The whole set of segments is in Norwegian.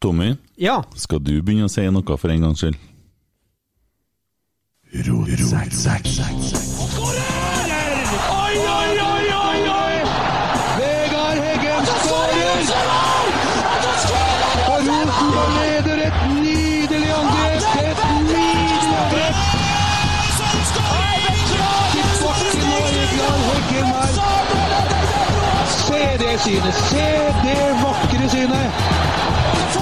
Tommy, Ja. skal du begynne å si noe for en gangs skyld? Oi, oi, oi, oi, oi! Vegard Heggen skårer! Og Rosenborg leder et nydelig angrep! Et nydelig angrep! Til bakken og Vegard Heggen her. Se det synet! Se det vakre synet!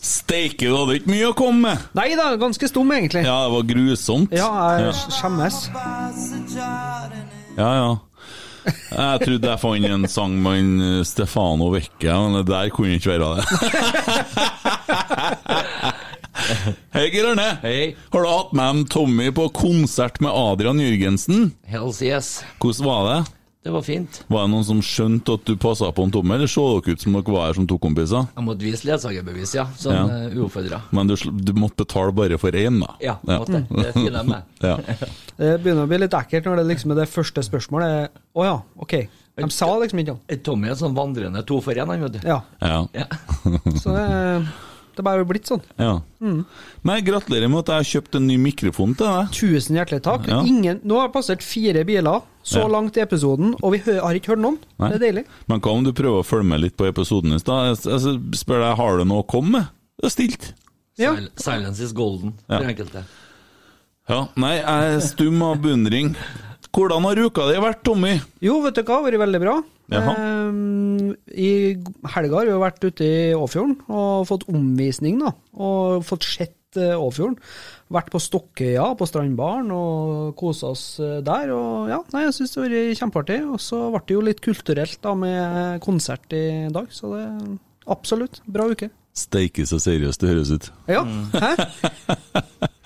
Steike, du hadde ikke mye å komme med! Nei da, ganske stum, egentlig. Ja, Ja, det var grusomt. jeg skjemmes. Ja, ja. Jeg trodde jeg fant en sang med en Stefano Vecchia, men det der kunne ikke være det. Hei, Geir Arne. Hei. Har du hatt med en Tommy på konsert med Adrian Jørgensen? Hells yes. Hvordan var det? Det var fint. Var det noen som skjønte at du passa på en Tommy, eller så dere ut som dere var her som to kompiser? Jeg måtte vise ledsagerbevis, ja. Sånn Ja. ja. uoppfordra. Men du, sl- du måtte betale bare for én, da? Ja, måtte. Det skulle jeg med. Ja. Det begynner å bli litt ekkelt når det liksom er det første spørsmålet. Å ja, OK. De sa liksom ikke noe. Tommy er en sånn vandrende to for én, han, vet du. Ja. Ja. Ja. Så det, det er bare blitt sånn. ja. Nei, gratulerer med at jeg har kjøpt en ny mikrofon til deg. Tusen hjertelig takk. Ja. Ingen, nå har jeg passert fire biler så Ja. langt i episoden, og vi hø har ikke hørt noen. Nei. Det er deilig. Men hva om du prøver å følge med litt på episoden i stad? Jeg- Jeg spør deg, har du noe å komme med? Det er stilt. Ja. Sil- Silence is golden for enkelte. Ja, nei, jeg er stum av beundring. Hvordan har uka di vært, Tommy? Jo, vet du hva, det har vært veldig bra. Jaha. Ehm, I helga har vi jo vært ute i Åfjorden og fått omvisning, da. Og fått sett eh, Åfjorden. Vært på Stokkøya, på Strandbaren, og kosa oss eh, der. Og ja, nei, jeg syns det har vært kjempeartig. Og så ble det jo litt kulturelt da med konsert i dag, så det Absolutt. Bra uke. Steike så seriøst det høres ut. Ja. Hæ?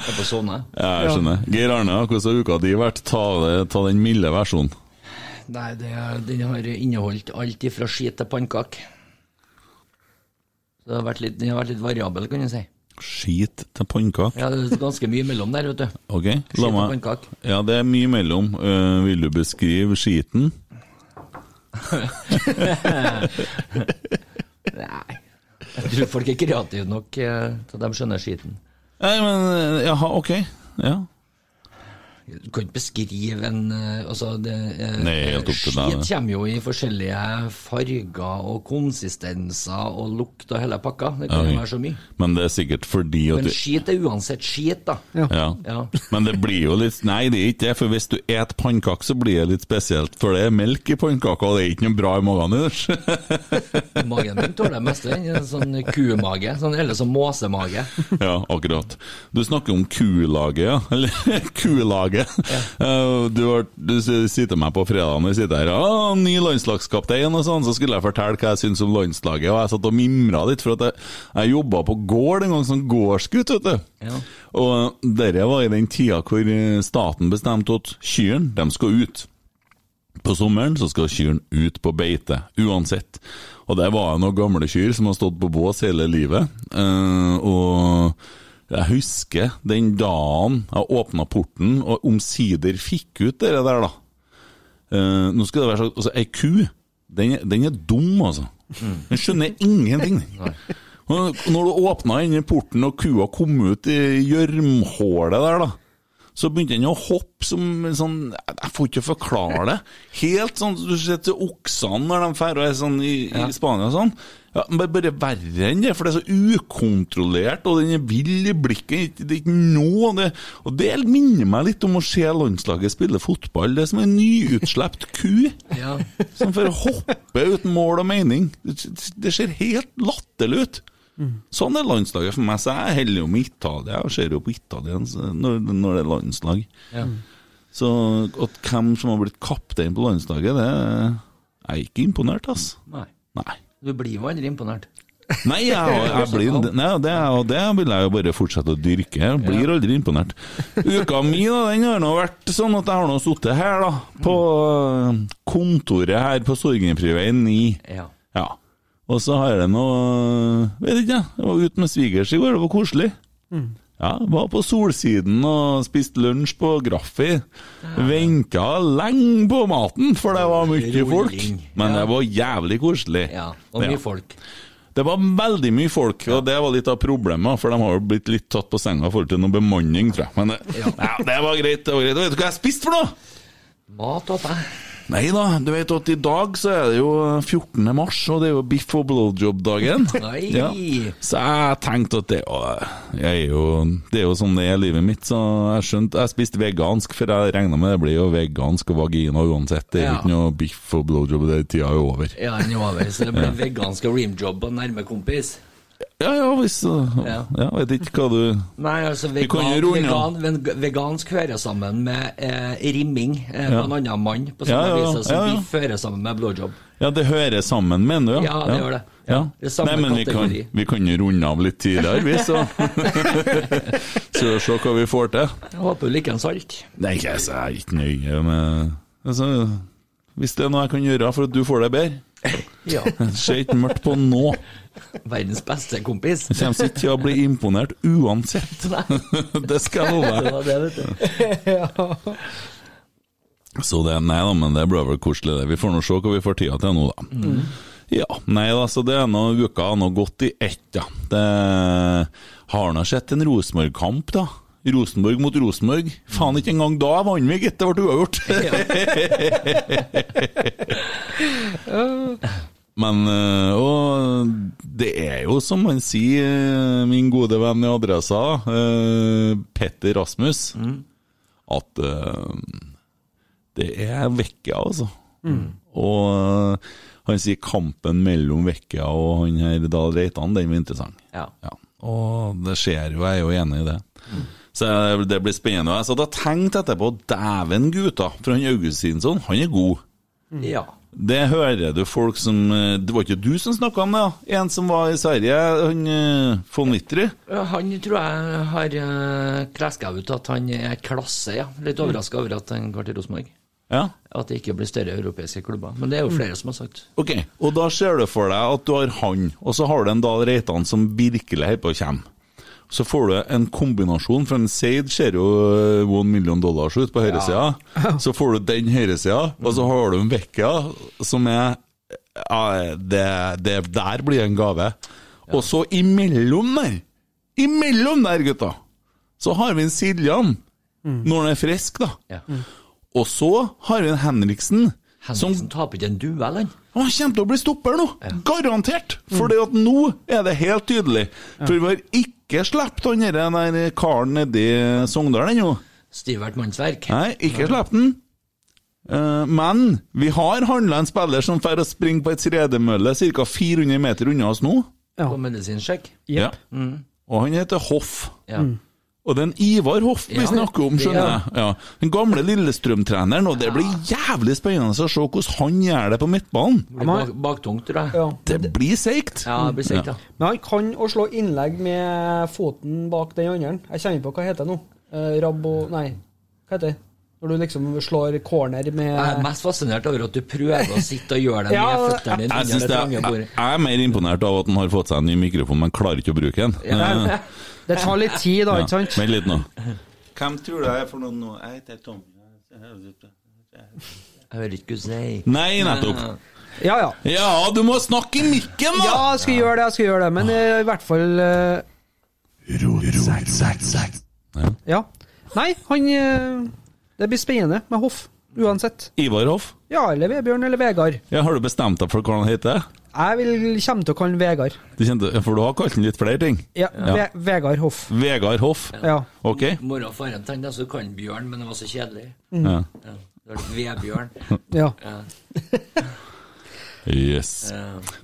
Jeg er på sone. Ja, jeg skjønner. Geir Arne, hvordan har uka di vært? Ta, det, ta den milde versjonen. Nei, det, er- den har inneholdt alt ifra skit til pannekake. Så det har vært litt, den har vært litt variabel, kan du si. Skit til pannkake. Ja, det er ganske mye mellom der, vet du. Ok, Skit la og meg pannkake. Ja, det er mye mellom. Eh, vil du beskrive skiten? Nei. Jeg tror folk er kreative nok eh, til at de skjønner skiten. Nei, men eh, Jaha, ok. Ja. Du kan ikke beskrive en eh, altså det, eh, Nei, helt opp til deg, Skit det. kommer jo i forskjellige farger og konsistenser og lukt og hele pakka. Det kan Ja, jo ok. være så mye. Men det er sikkert fordi at Men du skit er uansett skit, da. Ja. Ja. Ja. Men det blir jo litt Nei, det er ikke det, for hvis du et pannkake, så blir det litt spesielt, for det er melk i pannkaka, og det er ikke noe bra i magen deres. Magen min tåler det meste. En sånn kumage. Sånn, eller sånn måsemage. ja, akkurat. Du snakker om kulaget, ja. Eller kulaget. Eh, Du, har, du s- sitter meg på fredag når vi sitter her, «Å, ny landslagskaptein og sånn, så skulle jeg fortelle hva jeg syns om landslaget, og jeg satt og mimra litt, for at jeg, jeg jobba på gård en gang som gårdsgutt, vet du. Ja. Og dette var i den tida hvor eh, staten bestemte at kyrne, de skal ut. På sommeren så skal kyrne ut på beite, uansett. Og det var jo noen gamle kyr som har stått på bås hele livet. Eh, og jeg husker den dagen jeg åpna porten og omsider fikk ut det der, da. Eh, nå skal det være sagt, altså, ei ku, den, er- den er dum, altså. Den skjønner ingenting. Og når du åpna inni porten og kua kom ut i gjørmhålet der, da, så begynte den å hoppe som en sånn Jeg får ikke forklare det. Helt sånn Du ser til oksene når de drar og er sånn i, i Spania og sånn. Ja, men det er bare verre enn det, for det er så ukontrollert, og den er vill i blikket. Det er ikke noe av det. Og det minner meg litt om å se landslaget spille fotball. Det er som en nyutslept ku Ja. som får hoppe uten mål og mening. Det det ser helt latterlig ut. Sånn er landslaget for meg. Så jeg heller jo med Italia og ser jo på italiensk når, når det er landslag. Ja. Så at hvem som har blitt kaptein på landslaget, det er jeg er ikke imponert, ass. Nei. Nei. Du blir jo aldri imponert. Nei, jeg, jeg blir, nei det, og det vil jeg jo bare fortsette å dyrke. Jeg blir aldri imponert. Uka mi da, den har nå vært sånn at jeg har nå sittet her, da. På øh, kontoret her på Sorgenfriveien 9. Ja. Ja. Og så har jeg nå Vet ikke, jeg. Jeg var ute med svigers i går, det var koselig. Mm. Ja, Var på Solsiden og spiste lunsj på Graffi. Venka lenge på maten, for det var mye folk. Rulling. Men Ja. det var jævlig koselig. ja. Og mye folk. Det var veldig mye folk, og det var litt av problemet, for de har jo blitt litt tatt på senga i forhold til noe bemanning, tror jeg. Men det, ja. det var greit. det var greit. Og Vet du hva jeg spiste for noe? Mat og deg. Nei da, du vet at i dag så er det jo 14. mars, og det er jo biff og blowjob-dagen. Nei. Ja. Så jeg tenkte at det, å, jeg er jo, det er jo sånn det er i livet mitt, så jeg skjønte Jeg spiste vegansk, for jeg regna med det blir jo vegansk og vagina uansett. Det er jo Ja. ikke noe biff og blowjob, det tida er jo over. Ja, den er over. Så det ble vegansk reamjob og nærme kompis. Ja ja, hvis Ja, Ja. ja vet ikke hva du Nei, altså kan vegan, jo runde vegan, ven- vegansk hører sammen med eh, rimming eh, Ja. på en annen mann, på Ja, samme ja, vis som ja, ja. biff hører sammen med blowjob. Ja, det hører sammen, mener du? Ja, det gjør det. Ja. Det er samme Nei, men vi kan, kategori. vi kan jo runde av litt tidligere, vi, så Så se hva vi får til. Jeg håper du liker en salt. Nei, ikke altså, jeg er ikke nøye med altså, Hvis det er noe jeg kan gjøre for at du får det bedre Ja. Se ikke mørkt på nå. Verdens beste kompis. Jeg kommer ikke til å bli imponert uansett. Nei, Det skal jeg love det deg. var det, vet du. Så det, nei da, men det ble vel koselig, det. Vi får nå se hva vi får tida til nå, da. Ja, nei da, så det er nå uka har nå gått i ett, ja. Det har nå sett en Rosenborg-kamp, da. Rosenborg mot Rosenborg. Faen, ikke engang da vant vi, gitt. Det ble uavgjort. Men øh, Og det er jo som man sier, øh, min gode venn i Adressa, øh, Petter Rasmus, at øh, det er Vekka, altså. Og øh, han sier kampen mellom Vekka og han her Dahl Reitan, den var interessant. Ja. Ja. Og det skjer jo, jeg er jo enig i det. Så jeg- det blir spennende. Og Jeg satt og tenkte etterpå, dæven gutta, for han Augustinsson, han er god. Mm. ja. Det hører du folk som eh, Det var ikke du som snakka om det, da? En som var i Sverige, han eh, von Wittry? Ja, Han tror jeg har eh, kleska ut at han er klasse, ja. Litt Mm. overraska over at han går til Rosenborg. Ja. At det ikke blir større europeiske klubber. Men det Mm. er jo flere som har sagt. Ok, og da ser du for deg at du har han, og så har du en Dahl Reitan som virkelig holder på å komme. Så får du en kombinasjon, for en Seid ser jo eh, one million dollars ut på høyresida. Så får du den høyresida, og så har du en Vekka som er ja, det, det der blir en gave. Og så imellom der, imellom der, gutta, så har vi en Siljan. Når han er frisk, da. Ja. Og så har vi en Henriksen, som Henriksen taper ikke en duell, han. han kommer til å bli stopper nå, garantert! Fordi at nå er det helt tydelig. For vi har ikke sluppet han der- den der karen nedi Sogndal ennå. Stivert mannsverk. Nei, ikke sluppet den. Eh, Men vi har handla en spiller som får å springe på ei tredemølle ca. 400 meter unna oss nå. På medisinsjekk. Ja. Mm. Og han heter Hoff. Ja. Og det er en Ivar Hoff vi Ja, snakker om, det er- skjønner jeg. Ja. Den gamle Lillestrøm-treneren, og det blir jævlig spennende å se hvordan han gjør det på midtbanen. Blir bak, baktungt, tror jeg. ja. Det blir seigt. Ja, det blir sikkert, da. Men han kan å slå innlegg med foten bak den andre. Jeg kjenner ikke på hva heter det nå. Eh, Rabbo Nei, hva heter det? Når du liksom slår corner med Jeg er mest fascinert over at du prøver å sitte og gjøre det Ja, med føttene dine Jeg, under synes det det trange er, bordet. jeg er mer imponert av at han har fått seg en ny mikrofon, men klarer ikke å bruke den. Eh, Det tar litt tid, da, ja. ikke sant? Vent litt nå. Hvem tror du jeg er for noen nå? Jeg heter Tom. Jeg hører ikke hva du sier. Nei, nettopp. Ja, ja. Ja, du må snakke i mikken, Ja, da! jeg skal gjøre det, jeg skal gjøre det. Men eh, i hvert fall eh, Ja. Nei, han eh, Det blir spennende med Hoff, uansett. Ivar Hoff, Ja, eller Vebjørn eller Vegard. ja, har du bestemt deg for hva han heter? Jeg vil kommer til å kalle han Vegard. Du kjente, ja, for du har kalt han litt flere ting. Ja, Ve Vegard Hoff. Vegard Hoff. Ja. Ok? Mora og faren tenkte jeg så kan Bjørn, men det var så kjedelig. Ja. Ja. Det var Vebjørn. ja. Ja. Yes.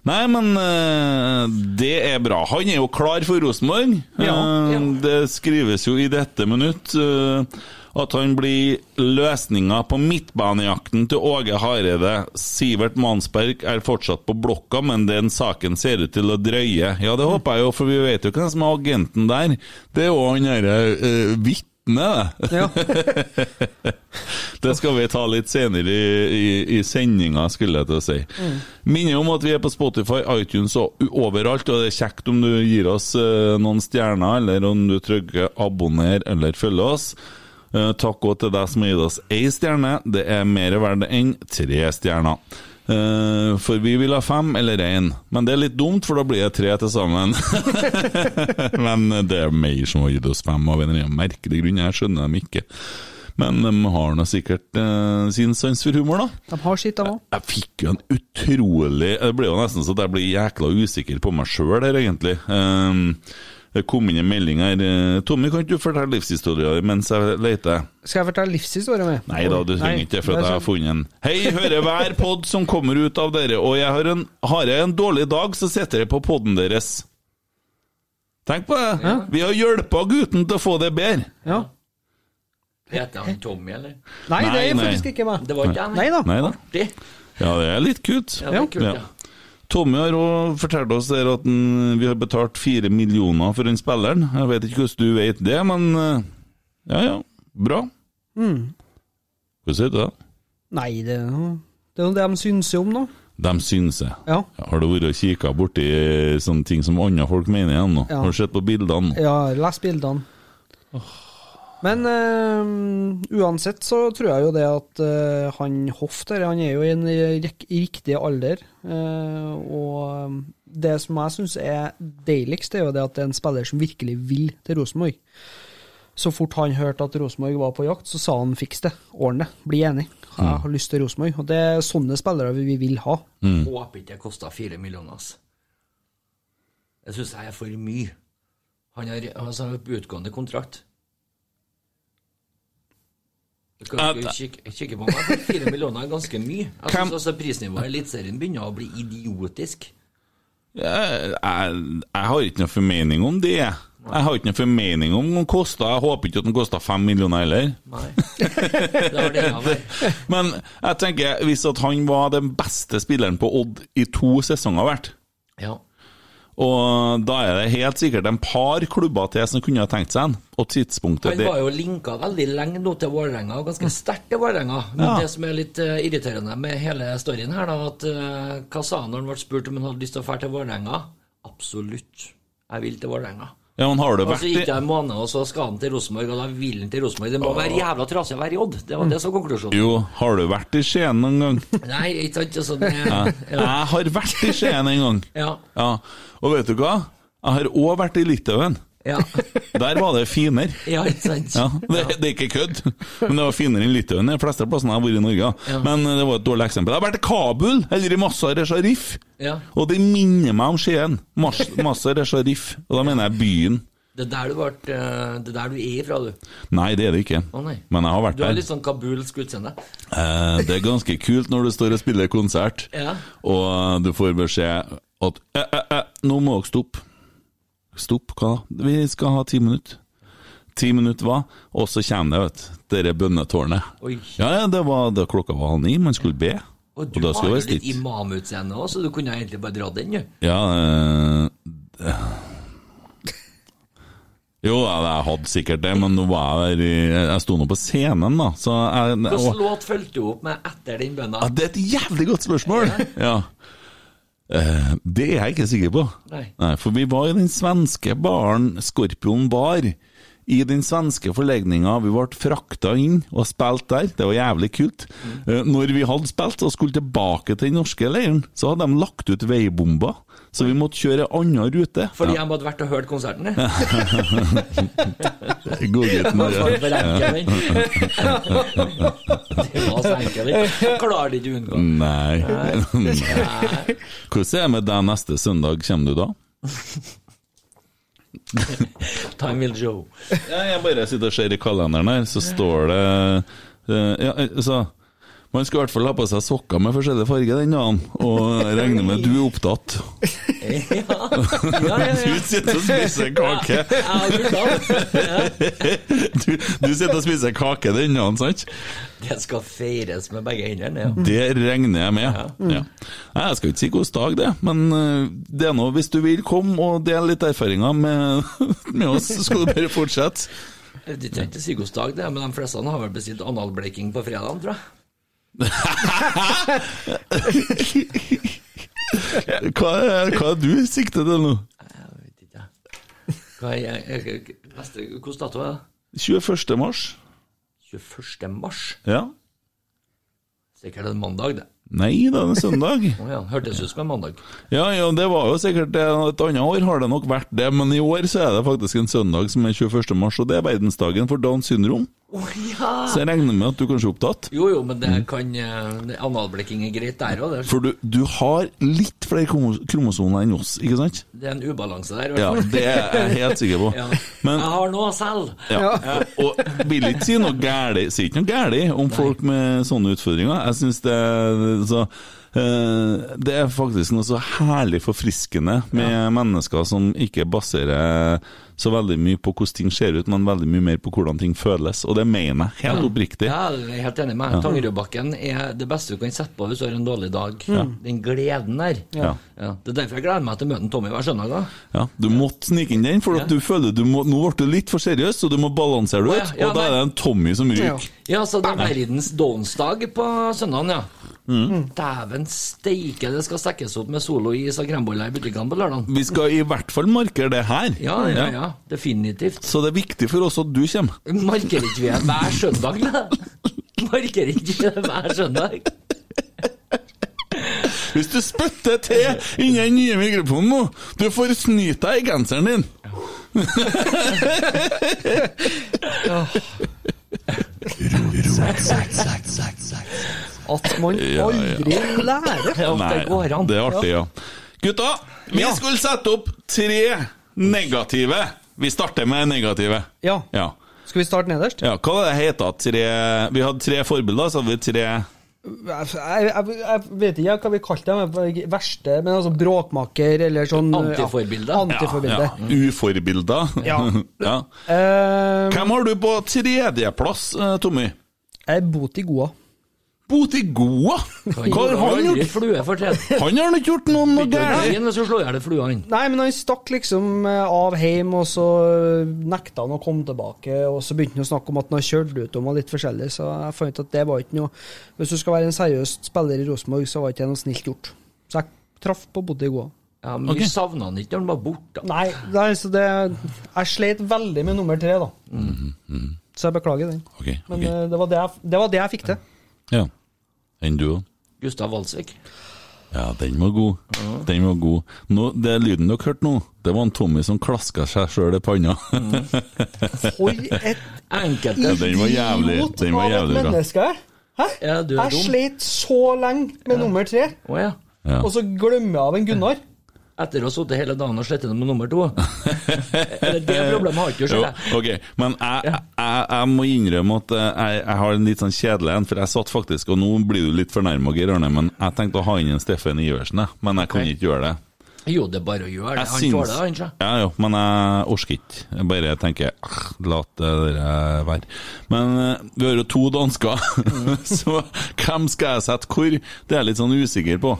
Nei, men eh, det er bra. Han er jo klar for Rosenborg. Ja, Eh, ja. Det skrives jo i dette minutt eh, at han blir løsninga på midtbanejakten til Åge Hareide. Sivert Mansberg er fortsatt på blokka, men den saken ser ut til å drøye. Ja, det håper jeg jo, for vi vet jo hvem som er agenten der. Det er jo han derre uh, vitnet, det. Ja. Det skal vi ta litt senere i, i, i sendinga, skulle jeg til å si. Minner om at vi er på Spotify, iTunes og u- overalt, og det er kjekt om du gir oss eh, noen stjerner, eller om du trykker 'abonner' eller 'følge oss'. Eh, takk òg til deg som har gitt oss ei stjerne. Det er mer verdt enn tre stjerner. Eh, for vi vil ha fem eller én, men det er litt dumt, for da blir det tre til sammen. men eh, det er mer som har gitt oss fem, av en eller annen merkelig grunn. Jeg skjønner dem ikke. Men de har nå sikkert eh, sin sans for humor, da. De har sitt, de òg. Jeg fikk jo en utrolig Det ble jo nesten så at jeg ble jækla usikker på meg sjøl her, egentlig. Ehm, det kom inn en melding her. eh, Tommy, kan ikke du fortelle livshistorien din mens jeg leter? Skal jeg fortelle livshistorie med? Nei da, du trenger ikke det, sånn- for at jeg har funnet en. Hei, hører hver pod som kommer ut av dere, og jeg har, en, har jeg en dårlig dag, så setter jeg på poden deres. Tenk på det! Vi har hjulpet gutten til å få det bedre. Ja. Heter han Tommy, eller? Nei, det Nei, er nei. faktisk ikke meg. Det var ikke jeg, Nei da. Nei da. Det, Ja, det er litt kult. ja, det er kult, ja. Tommy har òg fortalt oss der at han- vi har betalt fire millioner for den spilleren. Jeg vet ikke hvordan du vet det, men eh, ja ja, bra. Mm. Hvordan sier du det? Nei, det er noe det er noe det de syns om, da. De syns jeg. Ja. Har du vært og kikka borti sånne ting som andre folk mener igjen nå? Ja. Har du sett på bildene? Ja, les bildene. Men eh, uansett så tror jeg jo det at eh, han Hoff der, han er jo i en rek- i riktig alder. eh, og det som jeg syns er deiligst, er jo det at det er en spiller som virkelig vil til Rosenborg. Så fort han hørte at Rosenborg var på jakt, så sa han fiks det, ordne det, bli enig. Jeg har lyst til Rosenborg. Og det er sånne spillere vi vil ha. Håper ikke det kosta fire millioner, ass. Det syns jeg er for mye. Han har altså, utgående kontrakt. Du kan ikke kikke, kikke på meg, for fire millioner er ganske mye. Jeg Hvem- synes altså Prisnivået i Eliteserien begynner å bli idiotisk. Jeg, jeg, jeg har ikke noe formening om det. Jeg har ikke noe formening om den kosta. Jeg håper ikke at den kosta fem millioner heller. Nei. Det har det ene vært. Men jeg tenker, hvis at han var den beste spilleren på Odd i to sesonger hvert, Ja. og da er det helt sikkert en par klubber til som kunne ha tenkt seg en, og tidspunktet Han det, Mm. var jo linka veldig lenge nå til Vålerenga, og ganske sterkt til Vålerenga. Men Ja. det som er litt eh, irriterende med hele storyen her, da, at eh, hva sa han når han ble spurt om han hadde lyst til å dra til Vålerenga? Absolutt. Jeg vil til Vålerenga. Ja, men har det Og vært så gikk det i en måned, og så skal han til Rosenborg, og da vil han til Rosenborg. Det må være jævla trasig å være i Odd. Det var det som var konklusjonen. Mm. Jo, har du vært i Skien noen gang? Nei, ikke sant? Altså, det, Jeg har vært i Skien en gang. ja. Ja, og vet du hva? Jeg har òg vært i Litauen. Ja. Der var det finere. ja, ikke sant? Ja, det, det er ikke kødd, men det var finere enn Litauen. De fleste plassene jeg har vært i Norge. da. Ja. Men eh, det var et dårlig eksempel. Jeg har vært i Kabul, eller i Mazar-e Sharif. Ja. Og det minner meg om Skien. Mas- Mazar-e Sharif. Og da mener jeg byen. Det er der du ble, eh, det er der du er ifra, du. Nei, det er det ikke. Å, nei. Men jeg har vært Du har der. litt sånn kabulsk utseende. Eh, det er ganske kult når du står og spiller konsert, Ja. og du får beskjed at eh, eh, eh, nå må dere stoppe. Stopp, hva da? Vi skal ha ti minutter. Ti minutter hva? Og så kommer det, vet du, dette bønnetårnet. Oi. Ja, ja, det var da klokka var halv ni, man skulle be. Og du da har skulle jo jeg litt stilt. imamutseende òg, så du kunne egentlig bare dra den, du. Ja eh, Jo, ja, jeg hadde sikkert det, men nå var jeg der i Jeg sto nå på scenen, da, så jeg, Hvilken og, låt fulgte du opp med etter den bønna? ja, Det er et jævlig godt spørsmål! Ja. Eh, det er jeg ikke sikker på. Nei. For vi var i den svenske baren Skorpion bar. I den svenske forlegninga. Vi ble frakta inn og spilt der. Det var jævlig kult. Eh, Når vi hadde spilt og skulle tilbake til den norske leiren, så hadde de lagt ut veibomber. Så vi måtte kjøre ei anna rute. Fordi jeg hadde vært og hørt konserten, jeg. God gutt, Det var Maria. for enkel, den. Det var så enkel, den. Klarer det ikke å Mm. unngå. Nei. Hvordan er det med deg neste søndag? Kommer du da? Time will show. Ja, jeg bare sitter og ser i kalenderen her, så står det eh, ja, altså, Man skal i hvert fall ha på seg sokker med forskjellig farge den dagen, og jeg regner med du er opptatt. Ja, ja, Du ja. sitter og spiser kake. Ja, du da. Du, du sitter og spiser kake den dagen, sant? Det skal feires med begge hendene. Ja. Det regner jeg med. Ja. Nei, Jeg skal ikke si hvilken dag det er, men eh, det er nå hvis du vil komme og dele litt erfaringer med, med oss, så skal du bare fortsette. Du trenger ikke si god dag, det, men de fleste har vel bestilt analbleking på fredagen, tror jeg. Hva er, hva er du sikter til nå? Jeg vet ikke, jeg. Hva er jeg- jeg- neste Hvilken dato er det? 21. mars? 21. mars? Ja. Sikkert en mandag, det. Nei, det er en søndag. Å ja, hørtes ut som en mandag. Ja, ja, det var jo sikkert det. Et annet år har det nok vært det, men i år så er det faktisk en søndag som er 21. mars, og det er verdensdagen for Downs syndrom. Å ja! Så jeg regner med at du kanskje er opptatt. Jo, jo, men det kan eh, det- Analblekking er greit der òg. Det, For du, du har litt flere kromos- kromosomer enn oss, ikke sant? det er en ubalanse der. i hvert Ja, fall. det er jeg helt sikker på. Ja. Men Jeg har noe selv! ja, og vil ikke si noe gærlig, sier ikke noe gærlig om folk med sånne utfordringer. Jeg synes det, er- så, eh, det er faktisk noe så herlig forfriskende med mennesker som ikke baserer så veldig mye på hvordan ting ser ut, men veldig mye mer på hvordan ting føles. Og det mener jeg helt oppriktig. Ja, jeg er helt enig med deg. Tangerudbakken er det beste du kan sette på hvis du har en dårlig dag. Den gleden der. Ja. Ja, Det er derfor jeg gleder meg til å møte en Tommy hver søndag. da. Ja, du måtte snike inn den, for at du føler du må, nå ble du litt for seriøs, så du må balansere det Å, ja, ut. ja, Og da er det en Tommy som ryker. Ja. Ja, så det er verdens downsdag på søndagen, ja. Mm. Mm. Dæven steike, det skal stekkes opp med solois og kremboller i butikkene på lørdag. Vi skal i hvert fall markere det her. Ja, ja, ja. Definitivt. Så det er viktig for oss at du kommer. Markerer ikke vi det hver søndag, da? Markerer ikke vi det hver søndag? Hvis du spytter til inni den nye mikrofonen nå, du får snyte deg i genseren din. At man aldri lærer. Ja, det går an. det er artig, ja. Gutta, vi skulle sette opp tre negative. Vi starter med negative. Ja. Ja. Skal vi starte nederst? ja hva var det het da? Tre Vi hadde tre forbilder, så hadde vi tre Jeg, Altså, jeg, jeg vet ikke hva vi kalte dem, men verste, men altså bråkmaker eller sånn Antiforbilde. Ja, ja, antiforbilde. ja, uforbilder. Ja. ja. Eh, Hvem har du på tredjeplass, eh, Tommy? jeg er bot i goa. Botigoa? Hva har han Aldri gjort? Flue for tredje. Han har ikke gjort noe noe gærent. Hvis du slår i hjel fluene. Nei, men han stakk liksom eh, av hjem, og så nekta han å komme tilbake. Og så begynte han å snakke om at han har kjørt ut om og litt forskjellig, så jeg fant ut at det var ikke noe Hvis du skal være en seriøs spiller i Rosenborg, så var ikke det noe snilt gjort. Så jeg traff på Bodø i Goa. Ja, men Vi savna han ikke når han var borte. Nei, nei, så det Jeg sleit veldig med nummer tre, da. Mm, Så jeg beklager den. Ok, Men ok. eh, det, var det, jeg, det var det jeg fikk til. Ja. Enn du òg? Gustav Walsvik. Ja, den var god. Den var god. Nå, det lyden dere hørte nå, det var en Tommy som klaska seg sjøl i panna. For et Enkelte Ja, den var jævlig- idiot den var av et jævlig bra. menneske jeg er. Hæ? Ja, du er jeg dum. sleit så lenge med nummer tre, Å ja. Ja. og så glemmer jeg av en Gunnar. Etter å ha sittet hele dagen og slette med nummer to. Eller det problemet har ikke du Jo, selv. jeg. ok, Men jeg, jeg, jeg må innrømme at eh, jeg, jeg har en litt sånn kjedelig en, for jeg satt faktisk Og nå blir du litt fornærma, Geir Arne, men jeg tenkte å ha inn en Steffen Iversen, jeg, men jeg kan ikke gjøre det. Jo, det er bare å gjøre det. Jeg Han syns- tåler det, han, sjø. Ja, jo, men jeg orker ikke. Jeg bare tenker ah, la det der være. Men eh, vi har jo to dansker, så hvem skal jeg sette hvor? Det er jeg litt sånn usikker på.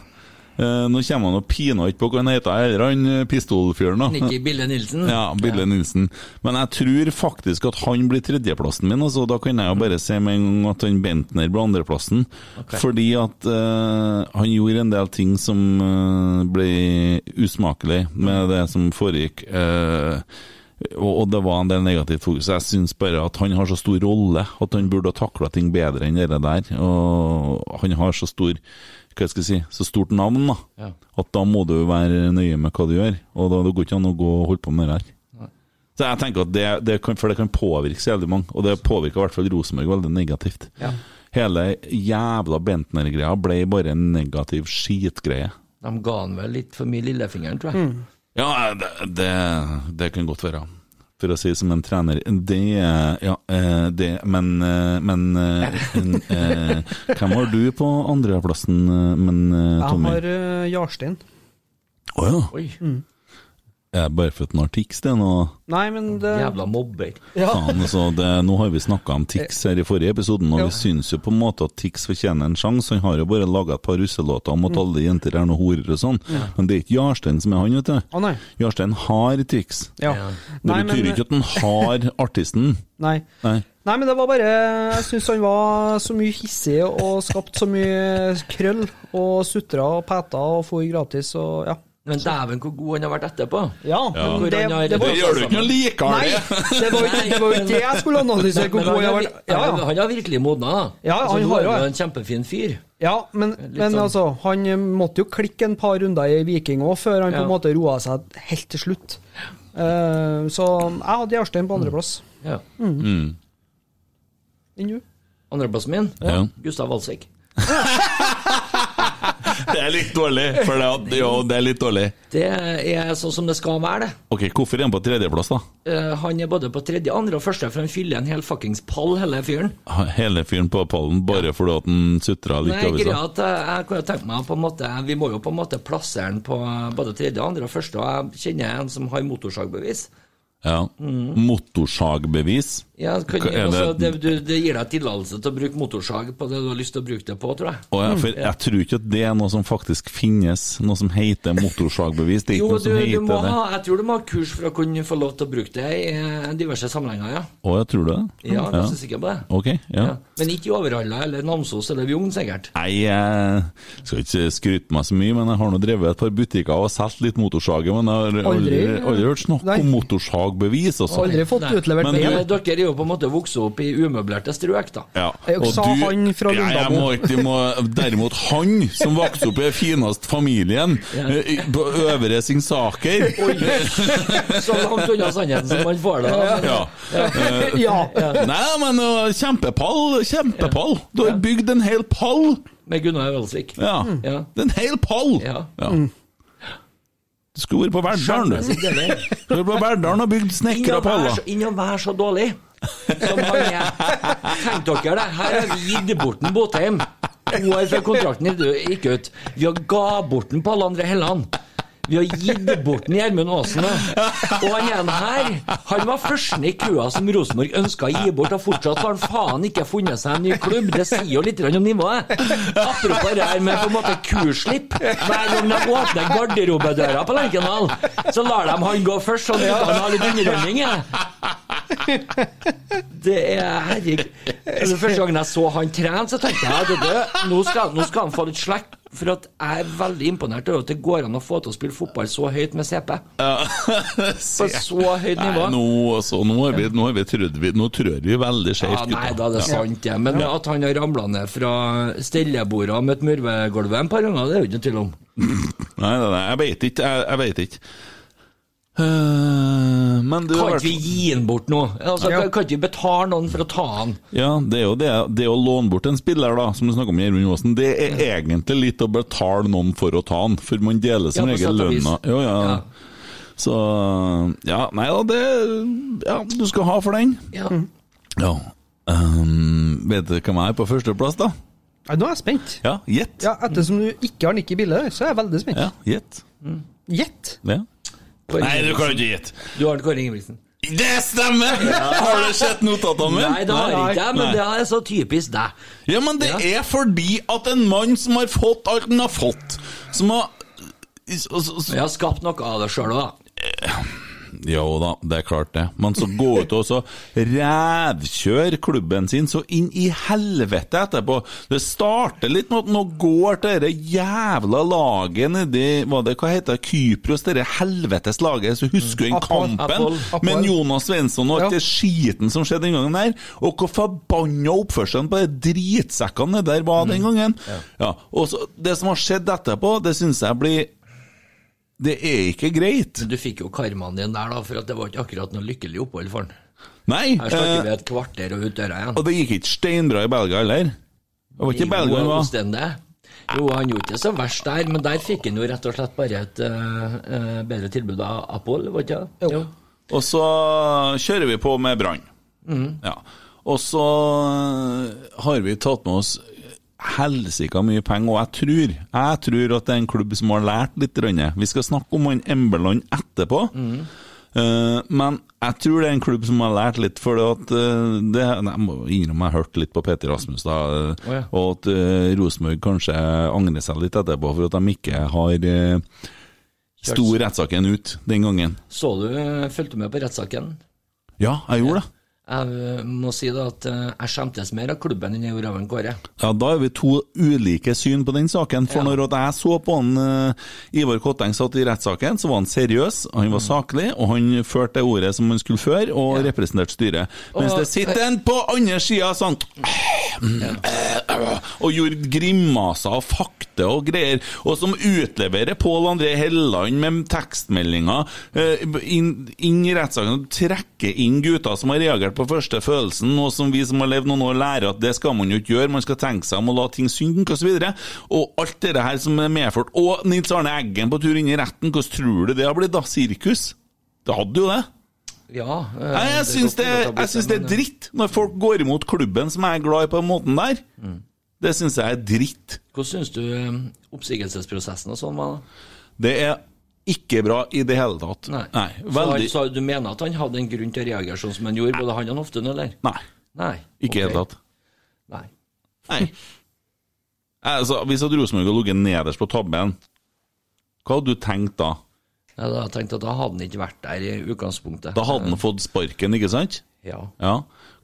Eh, nå kommer han og piner ikke på hva han heter, eller han eh, pistolfyren, da. Nikki Bille Nilsen. Ja, Bille Nilsen. Men jeg tror faktisk at han blir tredjeplassen min, altså. Da kan jeg jo bare si med en gang at han Bentner blir andreplassen. Fordi at eh, han gjorde en del ting som eh, ble usmakelig med det som foregikk. eh, og, og det var en del negativt fokus. Jeg syns bare at han har så stor rolle at han burde ha takla ting bedre enn det der. Og han har så stor hva skal jeg si, så stort navn, da. Ja. At da må du være nøye med hva du gjør, og da det går ikke an å gå og holde på med det her. Så jeg tenker at det, det kan, For det kan påvirke så jævlig mange, og det påvirker i hvert fall Rosenborg veldig negativt. Ja. Hele jævla Bentner-greia ble bare en negativ skitgreie. De Mm. ga han vel litt for mye lillefingeren, tror jeg. Ja, det, det, det kan godt være. for å si som en trener Det eh, Ja, eh, det Men, eh, men eh, en, eh, Hvem var du på andreplassen, eh, men, eh, Jeg Tommy? har eh, Jarstein. Å ja. Oi, Mm. Er det bare for at han har tics, det nå? Nei, men det jævla mobber. ja. Faen, altså, det, nå har vi snakka om Tix her i forrige episoden, og Ja. vi syns jo på en måte at Tix fortjener en sjanse. Han har jo bare laga et par russelåter om at Mm. alle jenter er noe horer og sånn, men det er ikke Jarstein som er han, vet du. Å, nei. Jarstein har Tix. Ja. Ja. Det Nei, betyr men, eh, ikke at han har artisten. nei. Nei. nei, men det var bare Jeg syns han var så mye hissig og skapt så mye krøll og sutra og peta og for gratis og ja. Men dæven, hvor god han har vært etterpå. Ja, men det, det var Det gjør du ikke noe likere, Nei, det var jo ikke det var jo ikke det jeg skulle analysere hvor Men han god jeg har har vir- vært. Ja, han- ja. han har virkelig modna, da. Ja, Altså, han nå har er jo han det. en kjempefin fyr. ja men, men sånn. altså, han måtte jo klikke en par runder i Viking òg, før han på Ja. en måte roa seg helt til slutt. Eh, så jeg hadde Jarstein på Mm. andreplass. Ja. Enn du? Andreplassen min, Ja. Gustav Walsvik. Det er litt dårlig, for det, er- jo, det er litt dårlig. Det er sånn som det skal være, det. Ok, hvorfor er han på tredjeplass, da? Eh, Han er både på tredje, andre og første, for han fyller en hel fuckings pall, hele fyren. Hele fyren på pallen bare fordi at han sutra litt Nei, over greia seg? at eh, jeg kunne tenkt meg på en måte Vi må jo på en måte plassere han på eh, både tredje, andre og første, og jeg kjenner en som har motorsagbevis. Ja. Motorsagbevis? Ja, kan, Hva er altså, det, det- du, det gir deg tillatelse til å bruke motorsag på det du har lyst til å bruke det på, tror jeg. Og jeg, for jeg tror ikke at det er noe som faktisk finnes, noe som heter motorsagbevis. Det er ikke Jo, noe du, som du heter må det. ha, jeg tror du må ha kurs for å kunne få lov til å bruke det i eh, diverse sammenhenger, ja. Å, jeg tror det? Ja, jeg er ganske sikker på det. Ok, ja. Ja. Men ikke i Overhalla eller Namsos eller Bjugn, sikkert. Nei, jeg skal ikke skryte meg så mye, men jeg har nå drevet et par butikker og solgt litt motorsager, men jeg har aldri, Aldri, ja. aldri hørt snakk Nei. om motorsagbevis, altså. Aldri fått Sånn Nei. utlevert Men det. du- Men dere er jo på en måte vokst opp i umøblerte strøk, da. Ja. Jeg sa han fra Ja, jeg Lundamo. må ikke, må, derimot han som vokste opp i den fineste familien eh, i- på Øvre Singsaker Så langt unna sannheten som man får det. da. ja. Eh, Ja. Nei, men eh, kjempepall, kjempepall. Du har bygd en hel pall. Med Gunnar Valsvik. Ja. Ja. Det er en hel pall! Ja. Du skulle vært på Verdalen, du. Det er det. Du skulle vært på Verdalen og bygd Inn snekra og vær paller. så- Inn og vær så dårlig som han er. Tenk dere det, her har vi gitt bort en Botheim to år før kontrakten gikk ut. Vi har ga bort den på alle andre Helland. Vi har gitt bort den i Gjermund Aasen. Og han ene her, han var førsten i køa som Rosenborg ønska å gi bort, og fortsatt har han faen ikke funnet seg en ny klubb. Det sier jo litt grann om nivået. Apropos det her med på en måte kurslipp. Hver gang de åpner garderobedøra på Lerkendal, så lar de han gå først, sånn at han har litt underholdning. jeg. Det er herregud. Den første gangen jeg så han trene, så tenkte jeg at det, nå, skal, nå skal han få litt slekk. For at jeg er veldig imponert over at det går an å få til å spille fotball så høyt med CP. På så høyt Nei, nivå. nå, altså, nå har vi, nå har vi trodd vi Nå trør vi veldig Ja, skjevt, nei da, det er sant, det. Men at han har ramla ned fra stellebordet og møtt murvegulvet en par ganger, det er jo ikke noe tvil om. Nei, nei, nei, jeg veit ikke. Jeg, jeg vet ikke. Eh, men du Kan har ikke vi vært- gi han bort nå? Altså, Ja. kan- Kan ikke vi betale noen for å ta han? Ja, det er jo det. Det å låne bort en spiller, da, som du snakker om Gjermund Aasen, det er egentlig litt å betale noen for å ta han, for man deler sin Ja, på egen sett og vis. lønn. og- Jo, ja. Ja. Så Ja, nei da, det Ja, du skal ha for den. Ja. Ja. Ehm, vet du hvem jeg er på førsteplass, da? Nei, Nå er jeg spent. Ja, gjett. Ja, Ettersom du ikke har Nikki Bille, så er jeg veldig spent. Ja, gjett. Gjett! Ja. Nei, du kan jo ikke gjette. Du har en Kåre Ingebrigtsen? Det stemmer! Har du sett notatene mine? Nei, det har jeg ikke, men Nei. det er så typisk deg. Ja, men det er fordi at en mann som har fått alt han har fått, som har s- s- s- Men Jeg har skapt noe av det sjøl òg, da. Jo da, det er klart det. Men så gå ut og så rævkjør klubben sin så inn i helvete etterpå. Det starter litt med at nå går dette jævla laget nedi Hva det, hva heter det? Kypros, dette helvetes laget. Så husker du den Apoll, kampen Apoll, med Apoll. Jonas Svensson og alt Ja. det skiten som skjedde den gangen der? Og hvor forbanna oppførselen på de drittsekkene der var den gangen? Ja, og så, Det som har skjedd etterpå, det syns jeg blir Det er ikke greit. Du fikk jo karmaen din der, da, for at det var ikke akkurat noe lykkelig opphold for han. Nei. Her snakker eh, vi et kvarter og ut døra igjen. Og det gikk ikke steinbra i Belgia heller. Det var ikke Belgia han var. Omstendig. Jo, han gjorde ikke så verst der, men der fikk han jo rett og slett bare et eh, eh, bedre tilbud av Apol, var ikke det? Jo. Og så kjører vi på med brann. Ja. Og så eh, har vi tatt med oss helsika mye penger, og jeg tror, jeg tror at det er en klubb som har lært litt. Rønne. Vi skal snakke om han Emberland etterpå. Eh, men jeg tror det er en klubb som har lært litt, for at eh, det, nei, jeg må innrømme jeg hørte litt på Peter Rasmus, da, eh, ja. og at uh, Rosenborg kanskje angrer seg litt etterpå for at de ikke har uh, sto rettssaken ut den gangen. Så du, eh, fulgte du med på rettssaken? Ja, jeg gjorde det. Jeg eh, må si da at eh, jeg skjemtes mer av klubben enn jeg gjorde av en Kåre. Ja, Da er vi to ulike syn på den saken. For når at jeg så på han eh, Ivar Kotteng satt i rettssaken, så var han seriøs, han var saklig, og han førte det ordet som han skulle føre, og representerte styret. Mens Og- det sitter en på andre sida sånn og gjorde grimaser og fakte og greier, og som utleverer Pål André Helland med tekstmeldinger eh, inn, inn i rettssaken og trekker inn gutter som har reagert på første følelsen, og som vi som har levd noen år, lærer at det skal man jo ikke gjøre, man skal tenke seg om og la ting synke osv. Og alt det her som er medført. Og Nils Arne Eggen på tur inn i retten, hvordan tror du det har blitt da? Sirkus? Det hadde jo det. Ja. eh, Nei, jeg det er syns godt det, mulig at har blitt jeg syns det er men, eh, dritt når folk går imot klubben som jeg er glad i på den måten der. Mm. Det syns jeg er dritt. Hvordan syns du eh, oppsigelsesprosessen og sånn var? da? Det er ikke bra i det hele tatt. Så altså- veldig han- så du mener at han hadde en grunn til å reagere sånn som han gjorde, både han og Hoften, eller? Nei, Nei. ikke i det ok. hele tatt. Nei. Nei. altså, hvis at Rosenborg hadde ligget nederst på tabben, hva hadde du tenkt da? Jeg hadde jeg tenkt at da hadde han ikke vært der i utgangspunktet. Da hadde han fått sparken, ikke sant? Ja. Ja.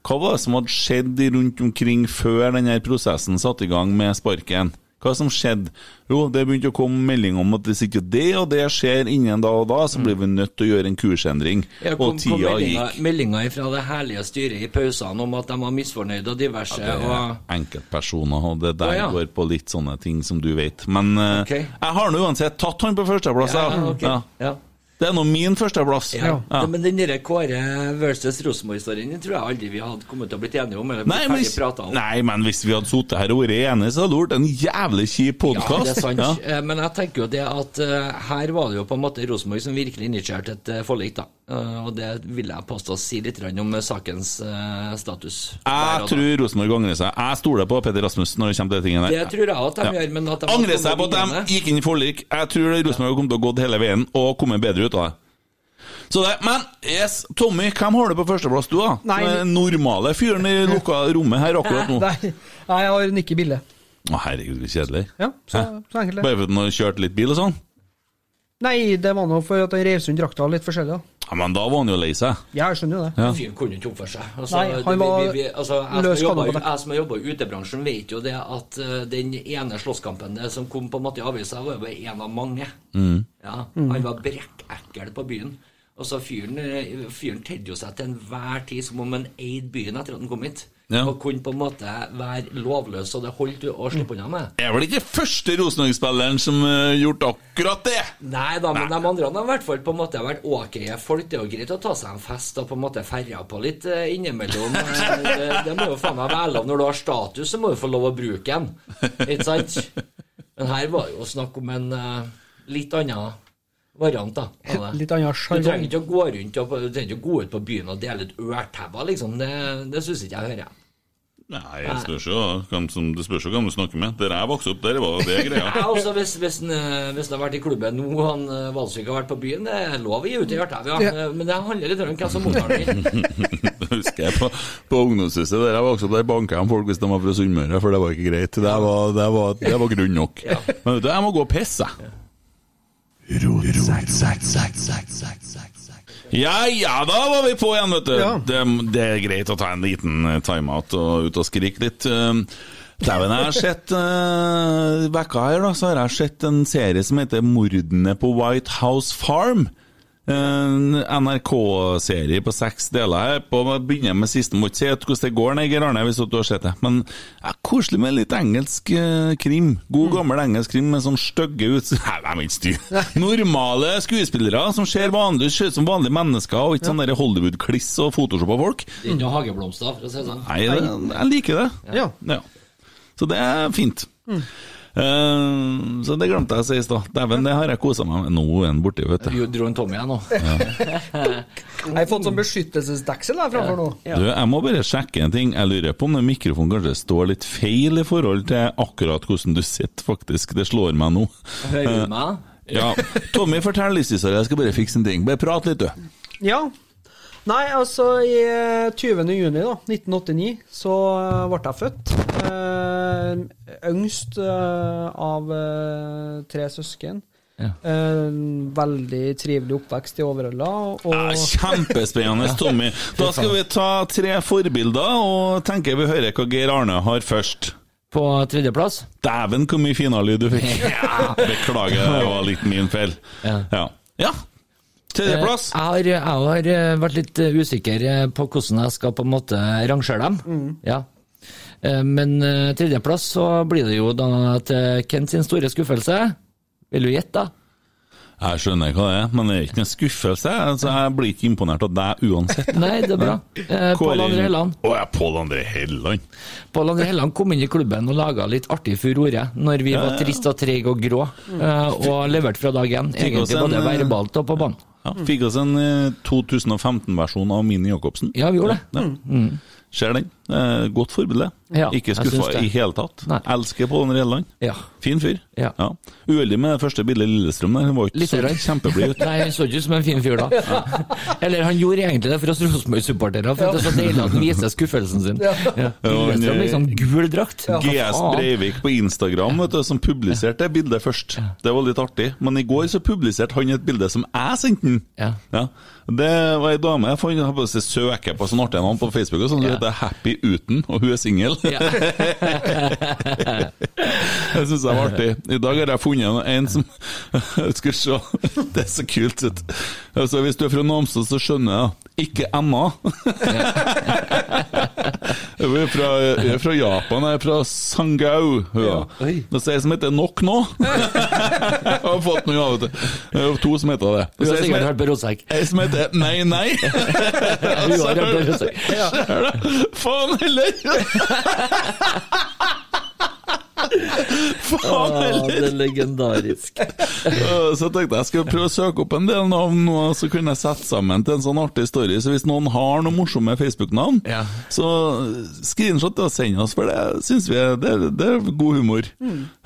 Hva var det som hadde skjedd i- rundt omkring før denne prosessen satte i gang med sparken? Hva som skjedde? Jo, det begynte å komme melding om at hvis ikke det og det skjer innen da og da, så blir vi nødt til å gjøre en kursendring. Ja, og tida gikk. Meldinger fra det herlige styret i pausene om at de var misfornøyde og diverse. og... eh, Enkeltpersoner, og det der Å, ja. går på litt sånne ting som du vet. Men eh, Ok. jeg har nå uansett tatt han på førsteplass. Ja, jeg. ok. Ja. Ja. Det er nå min førsteplass. Ja. Men den der Kåre versus Rosenborg-storyen den tror jeg aldri vi hadde kommet til å blitt enige om. eller blitt Nei men, ferdig hvis, pratet om. nei, men hvis vi hadde sittet her og vært enige, så hadde det vært en jævlig kjip Ja, det podkast. er sant. Eh, Men jeg tenker jo det at eh, her var det jo på en måte Rosenborg som virkelig initierte et eh, forlik, da. Eh, Og det vil jeg påstå si litt grann om eh, sakens eh, status. der Jeg og da. tror Rosenborg angrer seg. Jeg stoler på Peter Rasmussen når det kommer til de tingene Det der. tror jeg at de Ja. gjør, men at de Angrer har seg på kommet at de vinnende. gikk inn i forlik. Jeg tror Rosenborg kommer til å ha gått hele veien og kommet bedre ut av det. Så det, Men yes, Tommy, hvem har du på førsteplass, du, da? Nei, Som er den normale fyren i lukka rommet her akkurat nå. Nei, nei, jeg har Nikki Bille. Å, herregud, så kjedelig. Ja, så, Hæ? så enkelt det. Bare fordi han har kjørt litt bil og sånn? Nei, det var nå for at han rev sund drakta litt forskjellig, da. Ja, Men da var han jo lei seg. Ja, jeg skjønner jo det. Ja. Fyren kunne ikke oppføre seg. Altså, Nei, han det- var vi, vi, altså, jeg, løs som har kanon på jobbet, det. jeg som har jobba i utebransjen, vet jo det at eh, den ene slåsskampen det som kom på en måte i avisa, var jo bare en av mange. Mm. Ja, han var brekkekkel på byen. Altså, fyren eh, fyren tedde jo seg til enhver tid som om han eide byen etter at han kom hit. Ja. Og kunne på en måte være lovløs, og det holdt du å slippe unna med. Jeg er vel ikke første Rosenborg-spilleren som har gjort akkurat det? Nei da, men de andre har i hvert fall på en måte vært ok folk. Det er jo greit å ta seg en fest og på en måte ferja på litt eh, innimellom. Eh, Det, det må jo faen meg være lov. Når du har status, så må du få lov å bruke den. Ikke sant? Men her var jo snakk om en eh, litt annen variant, da. av det. Litt annen Du trenger sjargong. ikke å gå rundt og du trenger ikke å gå ut på byen og dele ut ørtæpper, liksom. Det, det syns ikke jeg hører. Nei, det spørs jo hvem som, det spørs jo hvem du snakker med. Der jeg vokste opp, der var det greia. Jeg også, altså, hvis, hvis, han, eh, hvis han har vært i klubben nå, han eh, Valsvik har vært på byen, det er lov å gi ut i hjertet, ja. Eh, Men det handler litt om hvem som mottar den. Det husker jeg på, på ungdomshuset der jeg vokste opp, der banka jeg folk hvis de var fra Sunnmøre, for det var ikke greit. Det var, det var, det var grunn nok. Men vet du, jeg må gå og pisse, jeg. Ja ja, da var vi på igjen, vet du. Ja. Det, det er greit å ta en liten eh, timeout og ut og skrike litt. Eh, Dæven, jeg har sett eh, Vekka her, da, så har jeg sett en serie som heter 'Mordene på White House Farm'. Eh, En NRK-serie på seks deler. her på å begynne med siste. Må ikke si at hvordan det går, nei, Geir Arne, hvis at du har sett det. Men ja, koselig med litt engelsk eh, krim. God, gammel engelsk krim med sånn stygge ut... Nei, de er ikke stygge. Normale skuespillere som ser vanlig ser ut som vanlige mennesker, og ikke sånn der Hollywood-kliss og Photoshop av folk. Det er ikke noe hageblomster, for å si det sånn. Nei, det, jeg liker det. Ja. Ja. Så det er fint. Eh, så det glemte jeg å si i stad. Dæven, det har jeg kosa meg med. Nå er den borte, vet du. Du dro en Tommy igjen nå. Jeg har fått sånn beskyttelsesdeksel her framfor nå. Du, jeg må bare sjekke en ting. Jeg lurer på om den mikrofonen kanskje står litt feil i forhold til akkurat hvordan du sitter, faktisk. Det slår meg nå. Hører du meg? Ja. Tommy, fortell livshistorien. Jeg skal bare fikse en ting. Bare prat litt, du. Ja. Nei, altså i eh, 20. juni da, 1989 så eh, ble jeg født. Eh, yngst eh, av eh, tre søsken. Ja. Eh, veldig trivelig oppvekst i Overhalla. Og Ja, kjempespennende, Tommy. Da skal vi ta tre forbilder, og tenker vi hører hva Geir Arne har først. På tredjeplass? Dæven, hvor mye finalyd du fikk! Beklager, det var litt min feil. Ja. Ja. ja. Tredjeplass. Eh, Jeg har, jeg har eh, vært litt eh, usikker eh, på hvordan jeg skal på en måte rangere dem. Ja. Eh, Men eh, tredjeplass så blir det jo da til Kent sin store skuffelse. Vil du gjette, da? Jeg skjønner hva det er, men det er ikke en skuffelse. Altså, jeg blir ikke imponert av deg uansett. Nei, det er bra. Eh, Pål André Helland. Å, ja, Pål André Helland. Pål André Helland kom inn i klubben og laga litt artig furore når vi var trist og treige og grå, eh, og leverte fra dag én. Fikk oss Egentlig både Mm. en, eh, verbalt og på banen. Ja, fikk oss en eh, 2015-versjon av Mini Jacobsen. Ja, vi gjorde det. Mm. Ja. Ser den. Eh, godt forbilde. Ja, ikke jeg syns skuffa det. i hele tatt. Nei. Elsker Pål André Helland. Ja. Fin fyr. Ja. Uheldig med det første bildet i Lillestrøm der. Han var Litt ikke så rød. kjempeblid ut. Nei, han så ikke ut som en fin fyr da. Eller han gjorde egentlig det for oss Rosenborg-supportere, for det er så deilig at han viser skuffelsen sin. Ja. Lillestrøm eh, liksom gul drakt. Hva GS faen? Breivik på Instagram vet du, som publiserte det bildet først. Det var litt artig. Men i går så publiserte han et bilde som jeg sendte han. Ja. Det var ei dame jeg fant, jeg har på seg søker på sånn artige navn på Facebook, og sånn, hun Ja. heter Happy Uten, og hun er singel. Ja. Jeg syns det var artig. I dag har jeg funnet en- en som Skal se, det er så kult. vet du. Altså, hvis du er fra Namsos, så skjønner jeg. Ikke Emma. Jeg er fra, jeg er fra Japan, jeg er fra Sangau. Ja. Oi. Det er ei som heter Nok nå. Jeg har fått noe, ja, vet du. Det er jo to som heter det. Du Så ei har som sikkert heter- hørt på Rosekk. Ei som heter Nei, nei. Du har hørt på Rosekk. Ser du? Faen heller! Faen heller! det er legendarisk. Eh, Så jeg tenkte jeg skulle prøve å søke opp en del navn, og så kunne jeg sette sammen til en sånn artig story. Så hvis noen har noen morsomme Facebook-navn, Ja. så screenshot det og send oss, for det syns vi er, det, er- det er god humor.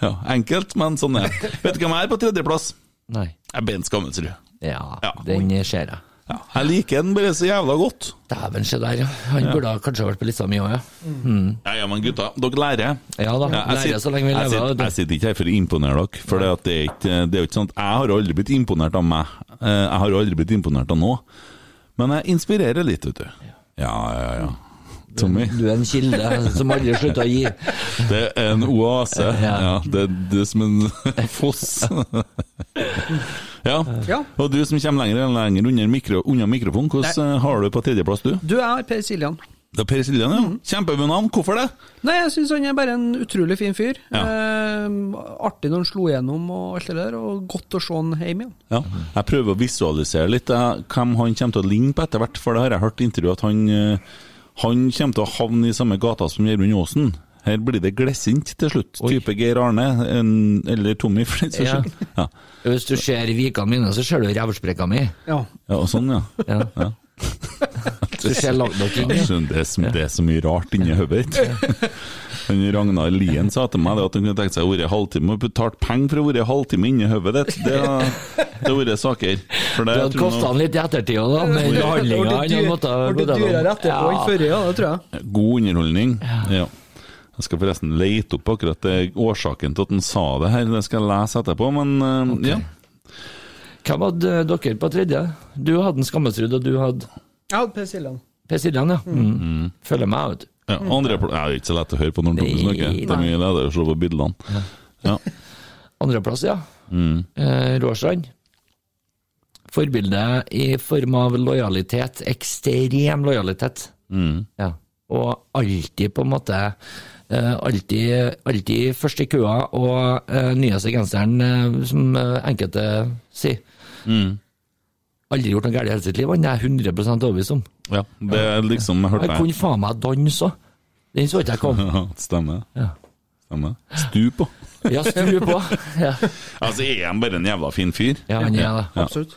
Ja, enkelt, men sånn er det. Vet du hvem jeg er på tredjeplass? Nei. Jeg er Bent Skammelsrud. Ja, Ja. den ser jeg. Ja, jeg liker den bare så jævla godt. Dæven, se der, ja. Han burde ha kanskje vært på lista mi òg, ja. Ja, ja, men gutta, dere lærer. Ja da, lærer sitter- så lenge vi jeg lever, vet sitter- du. Jeg sitter ikke her for å imponere dere, for det, at det, er ikke, det er jo ikke sånn at jeg har aldri blitt imponert av meg. Eh, Jeg har aldri blitt imponert av noe. Men jeg inspirerer litt, vet du. Ja, ja, ja. Tommy, Du er en kilde som aldri slutter å gi. det er en oase. Ja. Ja, det, det er som en foss. Ja. Ja. Og du som kommer lenger og lenger under mikro, unna mikrofonen, hvordan eh, har du på tredjeplass, du? Du er Per Siljan. Det er Per Siljan, ja. Kjempebunad. Hvorfor det? Nei, jeg syns han er bare en utrolig fin fyr. Ja. Eh, artig når han slo gjennom og alt det der, og godt å se han hjem igjen. Ja. Jeg prøver å visualisere litt eh, hvem han kommer til å ligne på etter hvert, for det har jeg hørt i intervju at han, eh, han kommer til å havne i samme gata som Gjermund Aasen. Her blir det glissent til slutt. Type Geir Arne, en, eller Tommy, for den saks Ja. skyld. Ja. Hvis du ser vikene mine, så ser du revsprekka mi. Ja. ja, og sånn, ja. Ja. Du ser langt nok inn. Jeg skjønner, det, er så, det er så mye rart inni hodet ditt. Han Ragnar Lien sa til meg det at han kunne tenkt seg å være halvtime og betalt penger for å være halvtime inni hodet ditt. Det har det har vært saker. For det, Du jeg hadde tror nå- kosta han litt i ettertid òg, da. Med Det ble behandlinga han Eh, dyr- hadde måttet ble dyrere etterpå enn før, ja, det tror jeg. God underholdning. Ja. Jeg skal forresten lete opp akkurat det, årsaken til at han sa det her, det skal jeg lese etterpå, men eh, ja. Hvem hadde dere på tredje? Du hadde en Skammelsrud, og du hadde Jeg hadde Per Siljan. Per Siljan, ja. Mm. Følger meg ut. ja andre, pl- ja, det er ikke så lett å høre på når Tommy Nei, snakker. Det er mye lettere å se på bildene. Ja. Andreplass, ja. Eh, Råstrand. Forbilde i form av lojalitet. Ekstrem lojalitet. Ja. Og alltid på en måte eh, Alltid, alltid først i køa og eh, nyeste genseren, eh, som eh, enkelte sier. Aldri gjort noe galt i hele sitt liv, han er jeg 100 overbevist om. ja. Det er liksom jeg Han hørte jeg. kunne faen meg danse òg! Den så ikke jeg komme. Ja, Stemmer. Ja. Stemmer. Stup, da. Ja, stru på. Ja, Altså, er han bare en jævla fin fyr? ja han er det. Ja. Absolutt.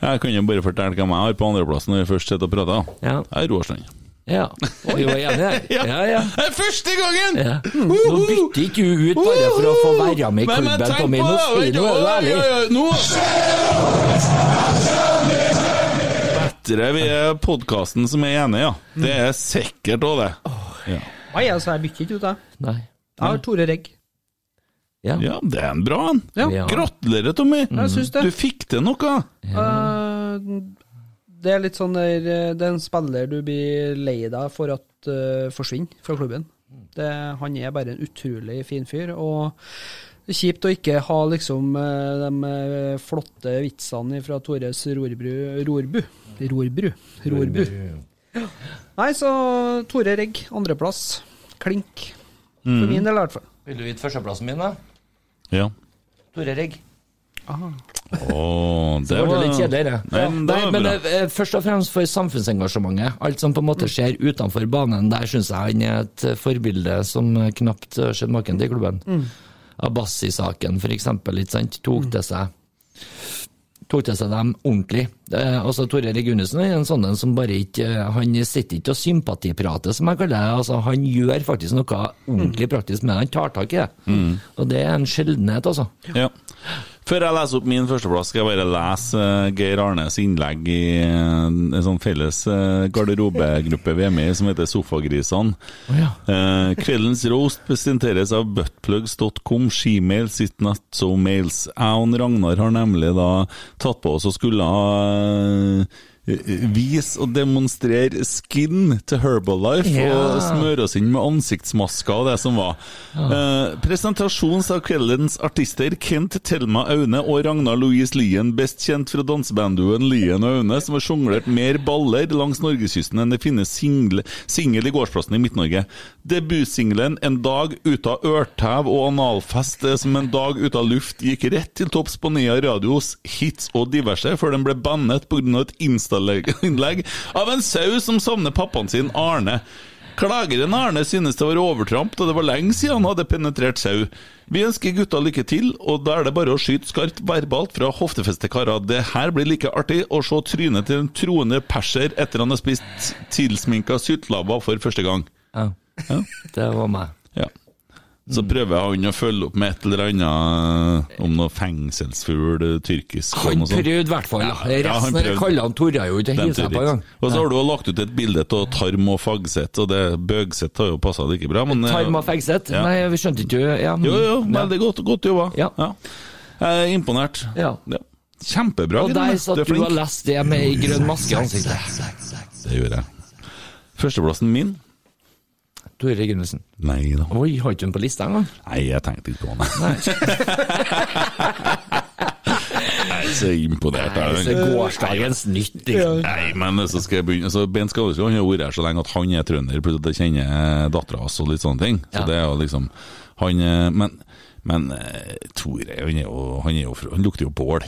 Jeg kan jo bare fortelle hvem jeg har på andreplassen når vi først sitter og prater. Ja. Jeg er Roarstrand. Ja. Og vi var enige der. Ja, ja. Det er første gangen! ja. Nå bytter ikke du ut bare for å få være Men- men med i klubben tenk på min. det, Nå sier vet du det ærlig. oi, oi, oi, nå- Bedre vi er podkasten som er enig, ja. Det er sikkert òg, det. Ja. Nei, altså, jeg bytter ikke ut, jeg. Nei. Jeg har Tore Regg. Ja. ja, det er en bra en. Ja. Ja. Gratulerer, Tommy. Jeg syns det. Du fikk til noe. Eh, det er litt sånn der eh, Det er en spiller du blir lei deg for at eh, forsvinner fra klubben. Det, han er bare en utrolig fin fyr. Og det er kjipt å ikke ha liksom eh, de eh, flotte vitsene fra Tores Rorbru Rorbu. Rorbru. Rorbu. Nei, så Tore Regg, andreplass. Klink. Mm. For min del, i hvert fall. Vil du gi førsteplassen min, da? Ja. Tore Regg. Å, det Det var ble litt kjedeligere. Nei, men det Nei, var men bra. eh, først og fremst for samfunnsengasjementet. Alt som på en måte skjer utenfor banen, der syns jeg han er et eh, forbilde som eh, knapt har sett maken til i klubben. Abbasi-saken, for eksempel, ikke sant, tok til seg tok til seg dem ordentlig. Eh, altså, Tore Regunesen er en sånn en som bare ikke eh, Han sitter ikke og sympatiprater, som jeg kaller det. Altså, han gjør faktisk noe ordentlig praktisk med det. Han tar tak i det. Mm. Og det er en sjeldenhet, altså. Ja. Før jeg leser opp min førsteplass, skal jeg bare lese eh, Geir Arnes innlegg i eh, en sånn felles eh, garderobegruppe vi er med i, som heter Sofagrisene. Å ja. Eh, kveldens roast presenteres av buttplugs.com, Gmail, sitt nett, so mails. Jeg og Ragnar har nemlig da tatt på oss og skulle ha eh, Vise og demonstrere skin til Herbalife Ja. og smøre oss inn med ansiktsmasker og det som var. Eh, presentasjons av kveldens artister Kent Thelma Aune og Ragnar Louise Lien, best kjent fra dansebanduen Lien og Aune, som har sjonglert mer baller langs norgeskysten enn det finnes single, single i gårdsplassen i Midt-Norge. Debutsingelen 'En dag uta ørtæv og analfest eh, som en dag uta luft' gikk rett til topps på Nea Radios hits og diverse, før den ble bannet pga. et Insta-innlegg av en sau som savner pappaen sin, Arne. Klageren Arne synes det var overtramp, da det var lenge siden han hadde penetrert sau. Vi ønsker gutta lykke til, og da er det bare å skyte skarpt verbalt fra hoftefestekarer. Det her blir like artig å se trynet til en troende perser etter han har spist tilsminka syltlabba for første gang. ja. Ja. Det var meg. Ja. Så Mm. prøver han å følge opp med et eller annet om noe fengselsfugl, eh, tyrkisk og Han noe sånt. prøvde i hvert fall. da. Ja, ja, han Resten av prøvde. kaller han Torre jo ikke å Den hilse tør på engang. ikke. Og så har du jo lagt ut et bilde av Tarm og Fagseth, og det Bøgseth har jo passa det ikke bra, men eh, Tarma Fegseth? Ja. Nei, vi skjønte ikke Mm. ja. Jo, jo, veldig godt, godt jobba. Ja. Jeg er imponert. Ja. Kjempebra. Og Gudrun. der satt Du er du flink. og leste det med ei grønn maske i ansiktet. Det gjorde jeg. Førsteplassen min? Tore Gunnelsen. Nei da. Oi, har ikke hun på lista engang? Nei, jeg tenkte ikke på den. Jeg er så imponert. Nei, Jeg. så Gårsdagens nytt, liksom. Nei, men så skal jeg begynne så Bent Skavelsrud han har vært her så lenge at han er trønder, pluss at jeg kjenner dattera hans og litt sånne ting. Så Ja. det er jo liksom han, eh, Men, men eh, Tore han, er jo, han, er jo, fra- han lukter jo bål.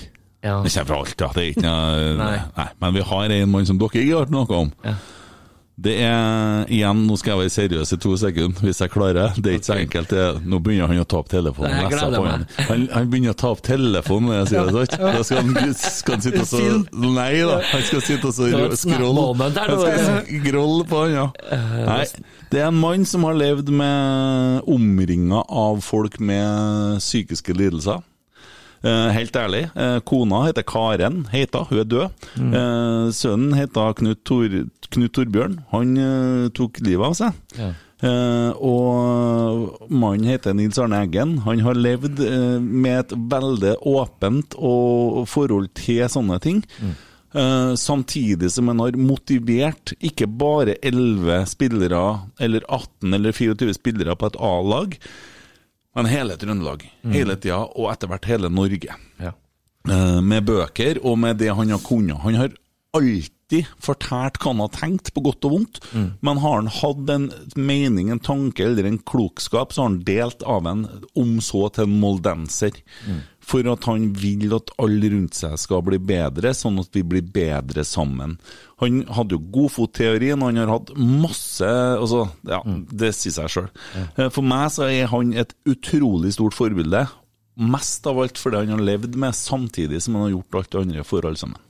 Ja. Det kommer fra alt, ja. Det er ikke noe Nei. Nei. Men vi har en mann som dere ikke har hørt noe om. Ja. Det er igjen, nå skal jeg være seriøs i to sekunder, hvis jeg klarer. Det er ikke så enkelt. Det, nå begynner han å ta opp telefonen. Nei, jeg leser gleder på meg. han. Han, han begynner å ta opp telefonen, når jeg sier det sant? Da skal han, skal han sitte og så Nei da, han skal sitte og så Det var et snap scrolle. moment der, Han det Eh, var- skal Groll på han, ja. Nei, det er en mann som har levd med omringa av folk med psykiske lidelser. Eh, helt ærlig, eh, kona heter Karen, heter, hun er død. Eh, sønnen heter Knut, Tor, Knut Torbjørn, han eh, tok livet av seg. Ja. Eh, og mannen heter Nils Arne Eggen. Han har levd eh, med et veldig åpent og og forhold til sånne ting. Eh, samtidig som han har motivert ikke bare 11 spillere, eller 18 eller 24 spillere på et A-lag, men hele Trøndelag. Hele tida, og etter hvert hele Norge. Ja. Eh, med bøker og med det han har kunnet. Han har alltid alltid fortalt hva han har tenkt, på godt og vondt, men har han hatt en mening, en tanke eller en klokskap, så har han delt av en, om så til en moldenser. For at han vil at alle rundt seg skal bli bedre, sånn at vi blir bedre sammen. Han hadde jo godfotteorien, han har hatt masse altså, ja, Det sier seg sjøl. For meg så er han et utrolig stort forbilde, mest av alt fordi han har levd med, samtidig som han har gjort alt det andre for alle sammen.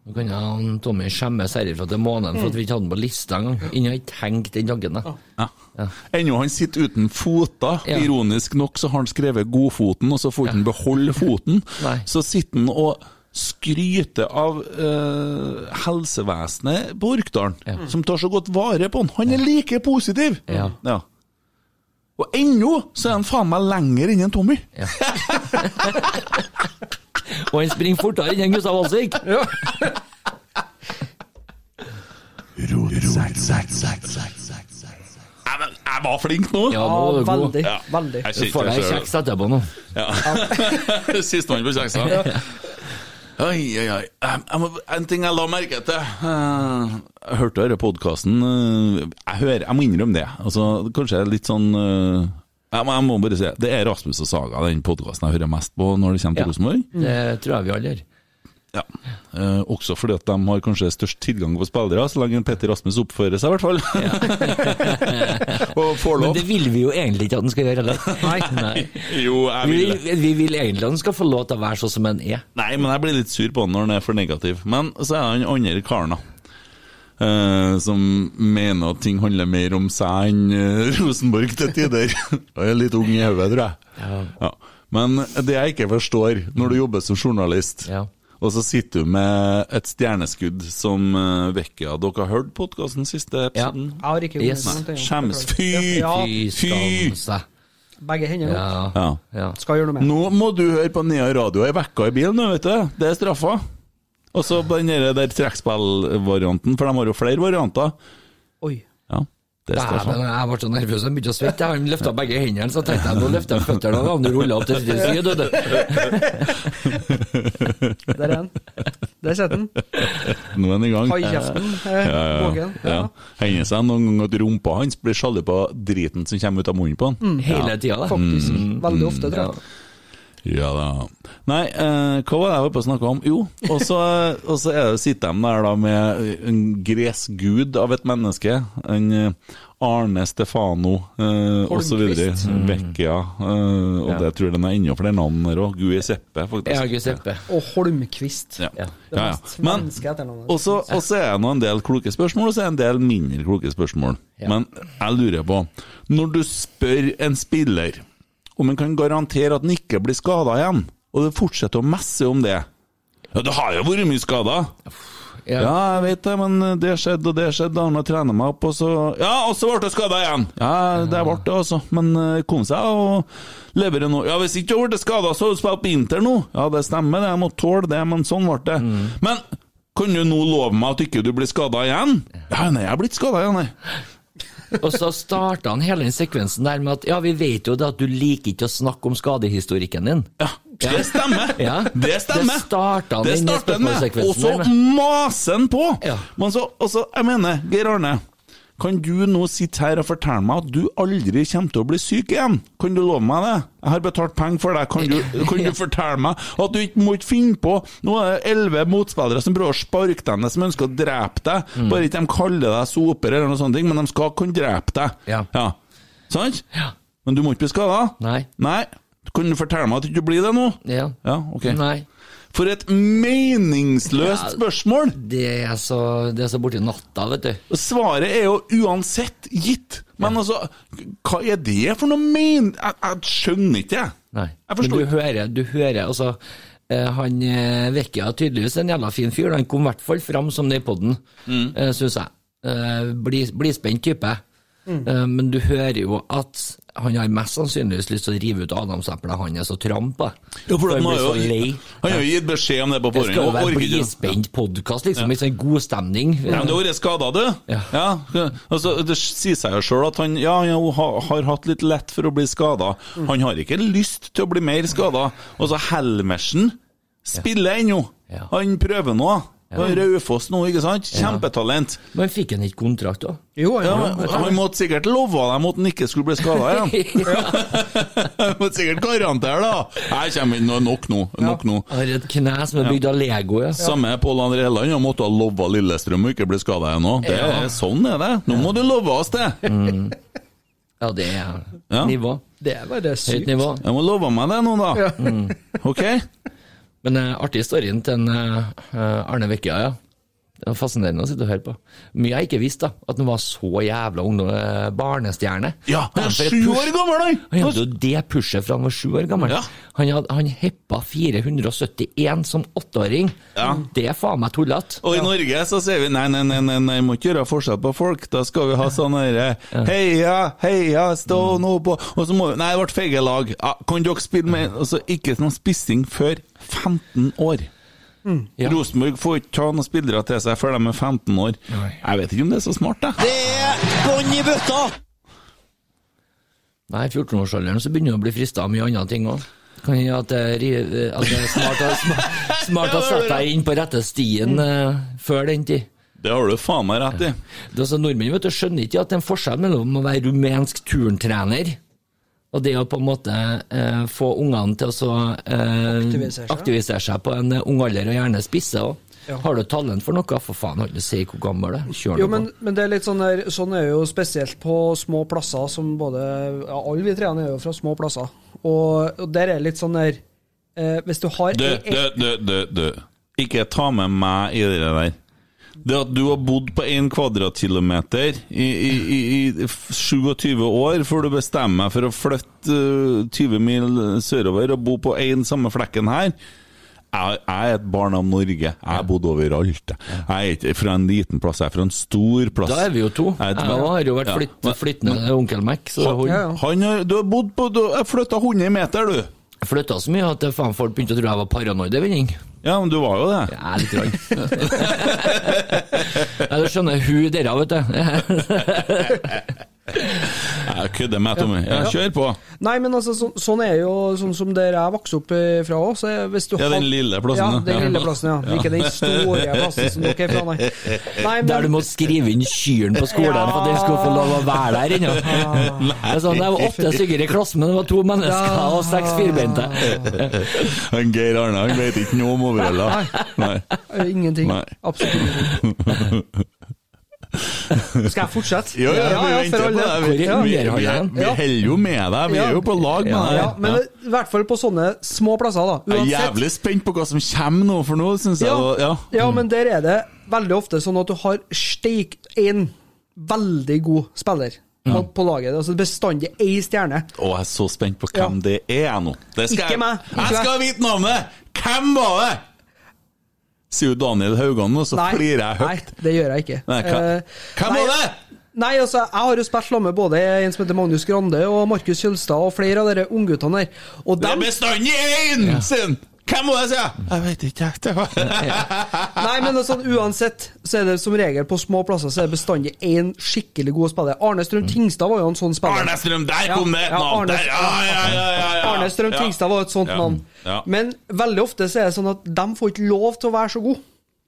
Nå kan jeg, han Tommy skjemmes herifra til måneden for at vi ikke hadde den på lista engang. Innen jeg ikke tenkte den tanken. da. Ja. Ennå han sitter uten foter. Ja. Ironisk nok så har han skrevet 'godfoten', og så får han beholde foten. Nei. Så sitter han og skryter av eh, helsevesenet på Orkdalen, som tar så godt vare på han. Han er like positiv! Ja. Og ennå så er han faen meg lenger enn en Tommy! Og han springer fortere enn Gustav Valsvik! Jeg, var- jeg var flink nå! Ja, Ja, nå er du god. veldig. Ja. Veldig. Jeg Du kjente får det deg selv. kjeks etterpå nå. Sistemann på kjeksa. Oi, oi, oi. Em, jeg må- En ting jeg la merke til. Eh, Jeg hørte denne podkasten eh, Jeg hører, jeg må innrømme det. Altså, kanskje litt sånn eh, jeg må, jeg må bare si det. Det er Rasmus og Saga, den podkasten jeg hører mest på når det kommer til Ja. Rosenborg. Det tror jeg vi alle gjør. Ja. Eh, også fordi at de har kanskje størst tilgang på spillere, så lenge Petter Rasmus oppfører seg, i hvert fall. og får Men lov. det vil vi jo egentlig ikke at han skal gjøre heller. Nei. Jo, jeg Vi, vil det. vi vil egentlig at han skal få lov til å være sånn som han er. Nei, men jeg blir litt sur på han når han er for negativ. Men så er han andre karen, da. eh, som mener at ting handler mer om seg enn eh, Rosenborg til tider. Jeg er litt ung i hodet, tror jeg. Ja. Men det jeg ikke forstår, når du jobber som journalist Ja. Og så sitter du med et stjerneskudd som eh, Vecchia Dere har hørt podkasten siste Ja. episoden? Jeg har ikke Yes. noe annet. Skjems. Fy! Ja, Fy skam seg. begge hender opp. Ja. Ja. Ja. Skal gjøre noe med det. Nå må du høre på Nea Radio i vekka i bilen, nå, vet du. Det er straffa. Og så på den der- der trekkspillvarianten, for de har jo flere varianter. Oi. Ja, det er straffa. Dæven, jeg ble så nervøs, jeg begynte å svette. Han løfta begge hendene, så tenkte jeg nå løfter jeg føttene, og han ruller opp til sin side. du, du. Der er den. Der sitter den. Nå er den i gang. Haikjeften. Eh, våken. Ja. Ja. Hender seg noen gang at rumpa hans blir sjalu på driten som kommer ut av munnen på han. Hele Mm. tida, da. Faktisk. Veldig ofte, tror Ja. jeg. Ja da. Nei, eh, hva var det jeg var på å snakke om? Jo, og så eh, og så er det- sitter de der da med en gresgud av et menneske. En eh, Arne Stefano eh, osv. Holmqvist. Vecchia. Eh, og Ja. det tror jeg den er innafor det navnet her òg. Guiseppe, faktisk. Ja, Giuseppe. Og Holmquist. Ja. Ja. Det Ja, ja. mest Men menneskelige etternavnet. og så og så er det nå en del kloke spørsmål, og så er det en del mindre kloke spørsmål. Men jeg lurer på Når du spør en spiller om han kan garantere at han ikke blir skada igjen, og du fortsetter å messe om det Ja, det har jo vært mye skada! Ja. Ja, jeg vet det, men det skjedde, og det skjedde. og Han har trent meg opp, og så Ja, og så ble jeg skada igjen! Ja, det ble det, altså. Men eh, kom seg og leverer nå. Ja, hvis ikke du ble skada, så har du spilt på Inter nå! Ja, det stemmer, det. Jeg må tåle det, men sånn ble det. Men kan du nå love meg at ikke du blir skada igjen? Ja, nei, jeg er blitt skada igjen, jeg. Og så starta han hele den sekvensen der med at ja, vi vet jo det at du liker ikke å snakke om skadehistorikken din. Ja, det stemmer! Ja. Det Det stemmer! starta han Det inn i starter han med, og spørsmålssekvensen så der med. maser han på! Ja. Men så, og så, jeg mener, Geir Arne, kan du nå sitte her og fortelle meg at du aldri kommer til å bli syk igjen? Kan du love meg det? Jeg har betalt penger for deg, kan du, kan du fortelle meg at du ikke må ikke finne på Nå er det elleve motspillere som prøver å sparke deg ned, som ønsker å drepe deg, Mm. bare ikke de kaller deg soper eller noe sånt, men de skal kunne drepe deg. Ja. Sant? Men du må ikke bli skada? Nei. Nei. Kan du fortelle meg at du ikke blir det nå? Ja. Ja, ok. Nei. For et meningsløst Ja. spørsmål! Det er så, det er så borti natta, vet du. Svaret er jo uansett gitt. Men altså, hva er det for noe men... Jeg, jeg skjønner ikke, jeg. Nei. Jeg forstår Men du ikke. hører, du hører altså eh, han eh, Vecchia er tydeligvis en jævla fin fyr. Han kom i hvert fall fram som det i poden, Mm. eh, syns jeg. Eh, bli- Blidspent type. Mm. Eh, men du hører jo at han har mest sannsynligvis lyst til å rive ut adamseplet han er så tram på. han han har blir så jo lei. han har jo gitt beskjed om det på Det skal jo forhånd. og være orker ikke. blidspent podkast, liksom. Litt sånn god stemning. Ja, men Du har vært skada, du. Ja. Altså, det sier seg jo sjøl at han ja, ja, hun har, har hatt litt lett for å bli skada. Han har ikke lyst til å bli mer skada. Og så Helmersen Altså, spiller ennå. Ja. Han prøver nå. Og Raufoss nå, ikke sant? Kjempetalent. Men fikk han ikke kontrakt, da? Jo, Ja, ja, men Han måtte sikkert love dem at han ikke skulle bli skada igjen. Han måtte sikkert garantere, da. Jeg kommer inn, nå er nok nå. Nok nå. Han har et kne som er bygd av Lego, ja. Samme Pål André Helland han måtte ha lova Lillestrøm å ikke bli skada igjen òg. Sånn er det. Nå må du love oss det. Ja, det er Ja. nivå. det er bare Høyt sykt. nivå. Jeg må love meg det nå, da. Mm. Ok? Men eh, artig storyen til en, eh, eh, Arne Vekkja, ja. Det var fascinerende å sitte og høre på. Mye jeg ikke visste, da. At han var så jævla ung eh, barnestjerne. Ja, han er For et sju push. år gammel, han! Han hadde jo det pushet fra han var sju år gammel. Ja. Han, hadde, han heppa 471 som åtteåring. Det er faen meg tullete. Og i Norge så sier vi nei, nei, nei, nei, nei, må ikke gjøre forskjell på folk. Da skal vi ha sånn herre Heia, heia, stå nå på Og så må vi Nei, det ble feige lag. Ja, kan dere spille med Og så ikke noe spissing før 15 år. Ja. Rosenborg får ikke ta noen spillere til seg før de er 15 år. Nei. Jeg vet ikke om det er så smart, jeg. Det er bånn i bøtta! Nei, i 14-årsalderen så begynner du å bli frista av mye andre ting òg. Kan hende at det er ri- eh, at det er smart, å- sma- smart å sette deg inn på rette stien eh, før den tid. Det har du faen meg rett i. Det er altså, nordmenn vet du, skjønner ikke at det er en forskjell mellom å være rumensk turntrener og det å på en måte eh, få ungene til å så, eh, Aktivisere seg. aktivisere seg på en eh, ung alder, og gjerne spisse òg. Ja. Har du talent for noe, for faen, har du si hvor gammel du er. Kjør Jo, nå på. men, men det er litt sånn der, sånn er det jo spesielt på små plasser som både ja, Alle vi treene er jo fra små plasser. Og, og der er det litt sånn der eh, Hvis du har Du, en- du, du, du, du. Ikke ta med meg i det der. Det at du har bodd på 1 kvadratkilometer i, i, i, i 27 år før du bestemmer deg for å flytte eh, 20 mil sørover og bo på én samme flekken her jeg, jeg er et barn av Norge. Jeg har bodd overalt. Jeg er ikke fra en liten plass, jeg er fra en stor plass. Da er vi jo to. Jeg er Jeg et- har jo vært Ja. flytt, flyttende onkel Mac, så det holder. Ja, ja. Han har, du har bodd på Du har flytta 100 meter, du! flytta så mye at det faen folk begynte å tro jeg var paranoid venning. Ja, men du var jo det. Ja, litt rann. ja, du skjønner hun dere, vet du. Jeg kødder med Tommy. Ja, kjør på. Nei, men altså, så, sånn er jo sånn som der jeg vokste opp eh, fra òg. Ja, den lille plassen, Ja, ja. den Ja. lille plassen, ja. Ikke den store plassen som dere er fra, nei. nei men, Der du måtte skrive inn kyrne på skolen for at dere skulle få lov å være der ennå. Det er sånn, det var åtte stykker i klassen, men det var to mennesker og seks firbeinte. Han Geir Arne han vet ikke noe om overheller. Nei. eh, Ingenting. Nei. Absolutt ingenting. Skal jeg fortsette? Jo, ja, vi venter for på alle. deg. Vi, Hvor er vi, vi, underholderen? vi holder jo med deg, vi er jo på lag med Ja, deg. men i hvert fall på sånne små plasser, da. Jeg er Uansett. jævlig spent på hva som kommer nå, for nå syns jeg Ja, ja. ja. men der er det veldig ofte sånn at du har steik én veldig god spiller på, på laget. Altså bestandig ei stjerne. Å, jeg er så spent på hvem det er jeg nå. Det skal Ikke jeg- meg, ikke Jeg skal vite navnet! Hvem var det?! Sier jo Daniel Haugan nå, så flirer jeg nei, høyt. det gjør jeg ikke. Nei, hva- Eh, hvem nei, var det? Nei, altså, jeg har jo spilt sammen med både en som heter Magnus Grande og Markus Kjølstad og flere av dere ungguttene der. Og Det er dem, bestandig én sin! Hvem var det, sier jeg? Jeg vet ikke, jeg. Det var- nei, men altså, uansett så er det som regel på små plasser så er det bestandig én skikkelig god spiller. Arne Strøm Tingstad var jo en sånn spiller. Mm. Arne Strøm, der kom det et Ja, ja, navn! Arne- Der, ja, ja, ja, ja, ja. Arne Strøm Ja. Tingstad var et sånt Ja. navn. Ja. Men veldig ofte så er det sånn at de får ikke lov til å være så gode.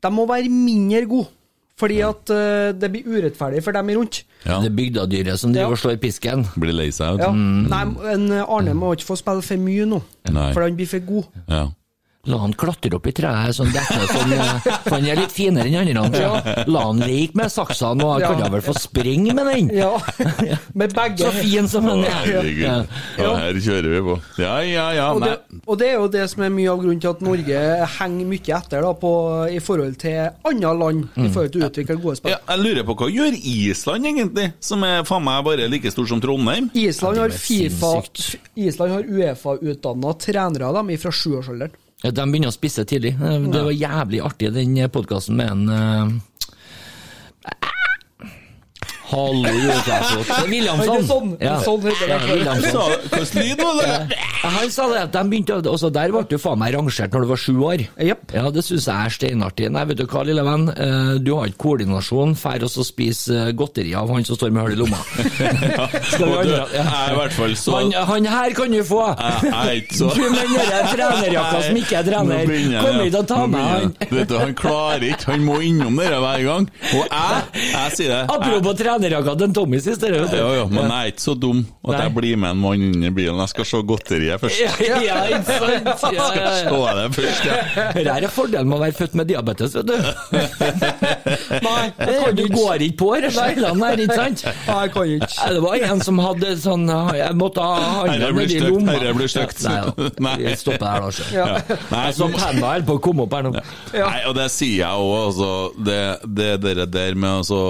De må være mindre gode, fordi at eh, det blir urettferdig for dem rundt. Ja. Det er bygdadyret som driver og slår pisken. Blir lei seg, vet Ja. du. Nei, men eh, Arne må ikke få spille for mye nå, Nei. for han blir for god. Ja. La han klatre opp i treet sånn dette, sånn, eh, for han er litt finere enn andre. Ja. La han leke med saksene, og han kan Ja. da vel få springe med den? Ja, Med begge. Så fin som han er. Herregud. Ja. Ja, her kjører vi på. Ja, ja, ja. Og Nei. det, og det er jo det som er mye av grunnen til at Norge henger mye etter da, på, i forhold til andre land, i forhold til å utvikle gode spill. Ja, jeg lurer på hva gjør Island egentlig, som er faen meg bare like stor som Trondheim? Island har er FIFA sinnssykt. Island har Uefa-utdanna trenere av dem fra sjuårsalderen. Ja, De begynner å spisse tidlig. Eh, Det var eh, jævlig artig, den podkasten med en eh, Hallo, Utlandsflot. Det er Williamson. Sånn- sånn heter det. Ja, Williamson. Sa- Hvordan lyd var det? Ja, Han sa det at de begynte å- altså Der ble du faen meg rangert når du var sju år. Jepp. Ja, Det syns jeg er steinartig. Nei, vet du hva, lille venn. Eh, Du har ikke koordinasjon. Fær og så spis eh, godteri av han som står med hull i lomma. Skal vi Og du, andre? jeg er i hvert fall så Han, han her kan du få! Jeg er ikke så Du med den der trenerjakka som ikke er trener. Nå begynner jeg, Kom ja. hit og ta Nå med begynner jeg. han. Du Vet du, han klarer ikke, han må innom dere hver gang. Og jeg, jeg sier det. jeg- Apropos trenerjakka til Tommy sist. det er jo det. Jo, jo, men jeg er ikke så dum at jeg Nei. blir med en mann inn i bilen. Jeg skal se godteriet først. Ja, ja, ikke sant? Ja, ja, ja. Se det først, ja. Dette er fordelen med å være født med diabetes, vet du. Nei, du går ikke på reglene her, ikke sant? Nei, jeg kan ikke. Nei, Det var en som hadde sånn Jeg måtte ha handa Herre blir nedi stygt, lomma. herre blir stygt. Ja, Nei, Nei. vi stopper her, da. sjø. Ja. Nei, Jeg så men- penna holdt på å komme opp her nå. Nei, og det sier jeg òg, altså. Det, det dere der med altså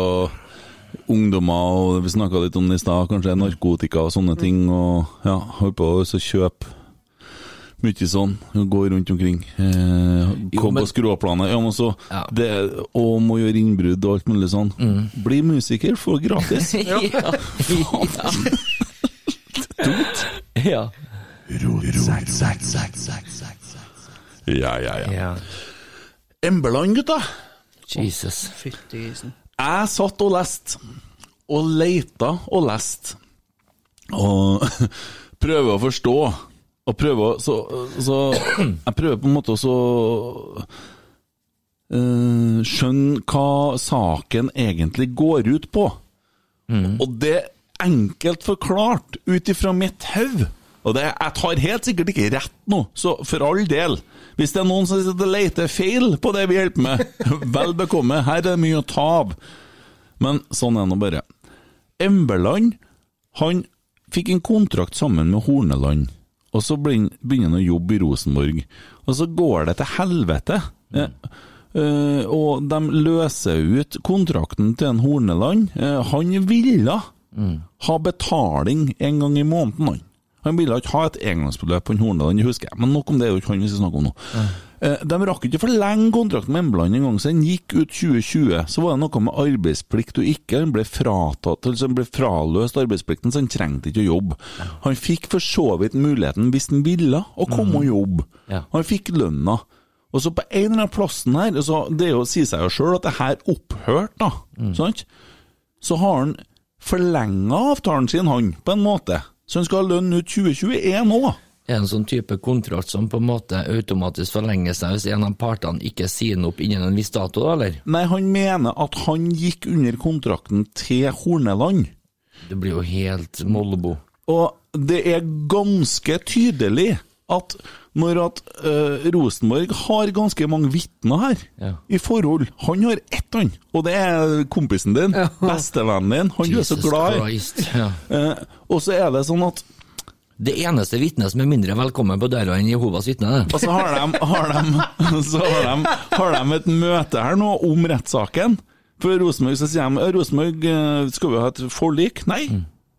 Ungdommer, og vi snakka litt om det i stad, kanskje narkotika og sånne ting. Og ja, holder på å så kjøpe mye sånn. Gå rundt omkring. Eh, Jo, kom men- på skråplanet. Ja, men så, Ja. det, og må gjøre innbrudd og alt mulig sånn. Bli musiker, få gratis. Ja. Ja. Ja. ja, ja, ja. ja. Embeland, gutta. Jesus. Fytti grisen. Jeg satt og leste, og leita og leste, og prøver å forstå, og prøver å så, så Jeg prøver på en måte å så eh, skjønne hva saken egentlig går ut på. Og det er enkelt forklart ut ifra mitt hode. Og det, jeg tar helt sikkert ikke rett nå, så for all del. Hvis det er noen som sitter og leter feil på det vi hjelper med, vel bekomme, her er det mye å ta av. Men sånn er det nå bare. Embeland, han fikk en kontrakt sammen med Horneland, og så begyn- begynner han å jobbe i Rosenborg. Og så går det til helvete. Eh, eh, og de løser ut kontrakten til en Horneland. Eh, han ville ha betaling en gang i måneden, han. Han ville ikke ha et engangsbeløp på en Horneland, det husker jeg, men nok om det er jo ikke han vi skal snakke om nå. Eh, De rakk ikke forlenge kontrakten med Embeland en gang, så den gikk ut 2020. Så var det noe med arbeidsplikt og ikke, han ble fratatt, altså han ble fraløst arbeidsplikten, så han trengte ikke å jobbe. Han fikk for så vidt muligheten, hvis han ville, å komme og jobbe. Ja. Han fikk lønna. Og så på en eller annen plassen her, så det er jo, sier seg jo sjøl at det her opphørte, da. Sant? Så har han forlenga avtalen sin, han, på en måte. Så han skal ha lønn ut 2021 òg. er en sånn type kontrakt som på en måte automatisk forlenger seg hvis en av partene ikke sier den opp innen en viss dato, da, eller? Nei, han mener at han gikk under kontrakten til Horneland. Det blir jo helt Mollebo. Og det er ganske tydelig at når at eh, Rosenborg har ganske mange vitner her Ja. i forhold Han har ett, han. Og det er kompisen din. Bestevennen din. Han du er så glad i. Christ. Ja. Eh, og så er det sånn at Det eneste vitnet som er mindre velkommen på døra enn Jehovas vitne, det. Og så har de, har de, så har de, har de et møte her nå om rettssaken. For Rosenborg så sier de «Ja, Rosenborg, eh, skal vi ha et forlik? Nei,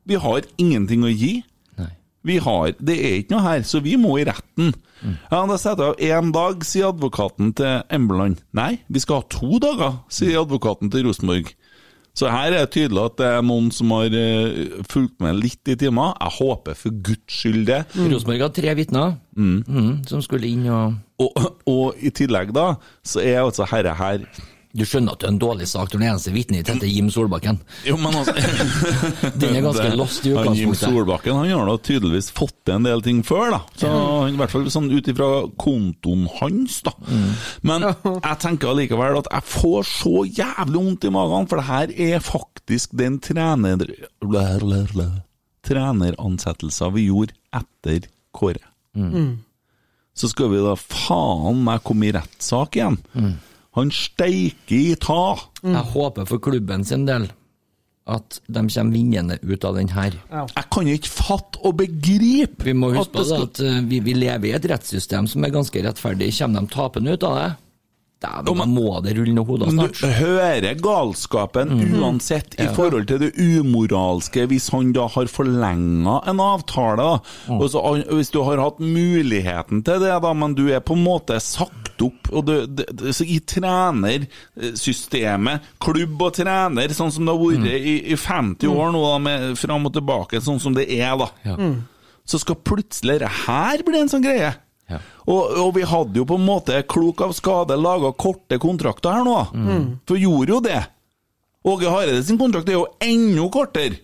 vi har ingenting å gi. Mm. Nei. Vi har, Det er ikke noe her, så vi må i retten. Mm. Ja, Da setter jeg av én dag, sier advokaten til Embeland. Nei, vi skal ha to dager, sier advokaten til Rosenborg. Så her er det tydelig at det er noen som har eh, fulgt med litt i timer. Jeg håper for guds skyld det. Rosenborg hadde tre vitner Mm. Mhm, som skulle inn og Og, og i tillegg da, så er altså herre her Du skjønner at det er en dårlig sak når det eneste vitnet ditt heter Jim Solbakken. Jo, men altså Den er ganske lost i Han Jim utgangspunktet. Solbakken han har da tydeligvis fått til en del ting før, da. Så han, I hvert fall sånn ut ifra kontoen hans, da. Mm. Men jeg tenker allikevel at jeg får så jævlig vondt i magen, for det her er faktisk den trener... treneransettelsen vi gjorde etter Kåre. Mm. Så skal vi da faen meg komme i rettssak igjen. Mm. Han steiker i ta! Jeg håper for klubben sin del at de kommer vinnende ut av den her. Jeg kan ikke fatte og begripe! Vi må at huske på det det at eh, vi, vi lever i et rettssystem som er ganske rettferdig. Kommer de tapende ut av det? Dæven, da må det rulle noen hoder Men snart. Mhm. du hører galskapen uansett i forhold til det umoralske hvis han da har forlenga en Mm. avtale. da. Og så, an- hvis du har hatt muligheten til det, da, men du er på en måte sakte lagt opp. Og det, det, det, så I trenersystemet, klubb og trener, sånn som det har Mm. vært i, i 50 år nå, da, med fram og tilbake, sånn som det er, da. Ja. Så skal plutselig det her bli en sånn greie. Ja. Og, og vi hadde jo på en måte klok av skade laga korte kontrakter her nå, for gjorde jo det. Åge Hareide sin kontrakt er jo enda kortere.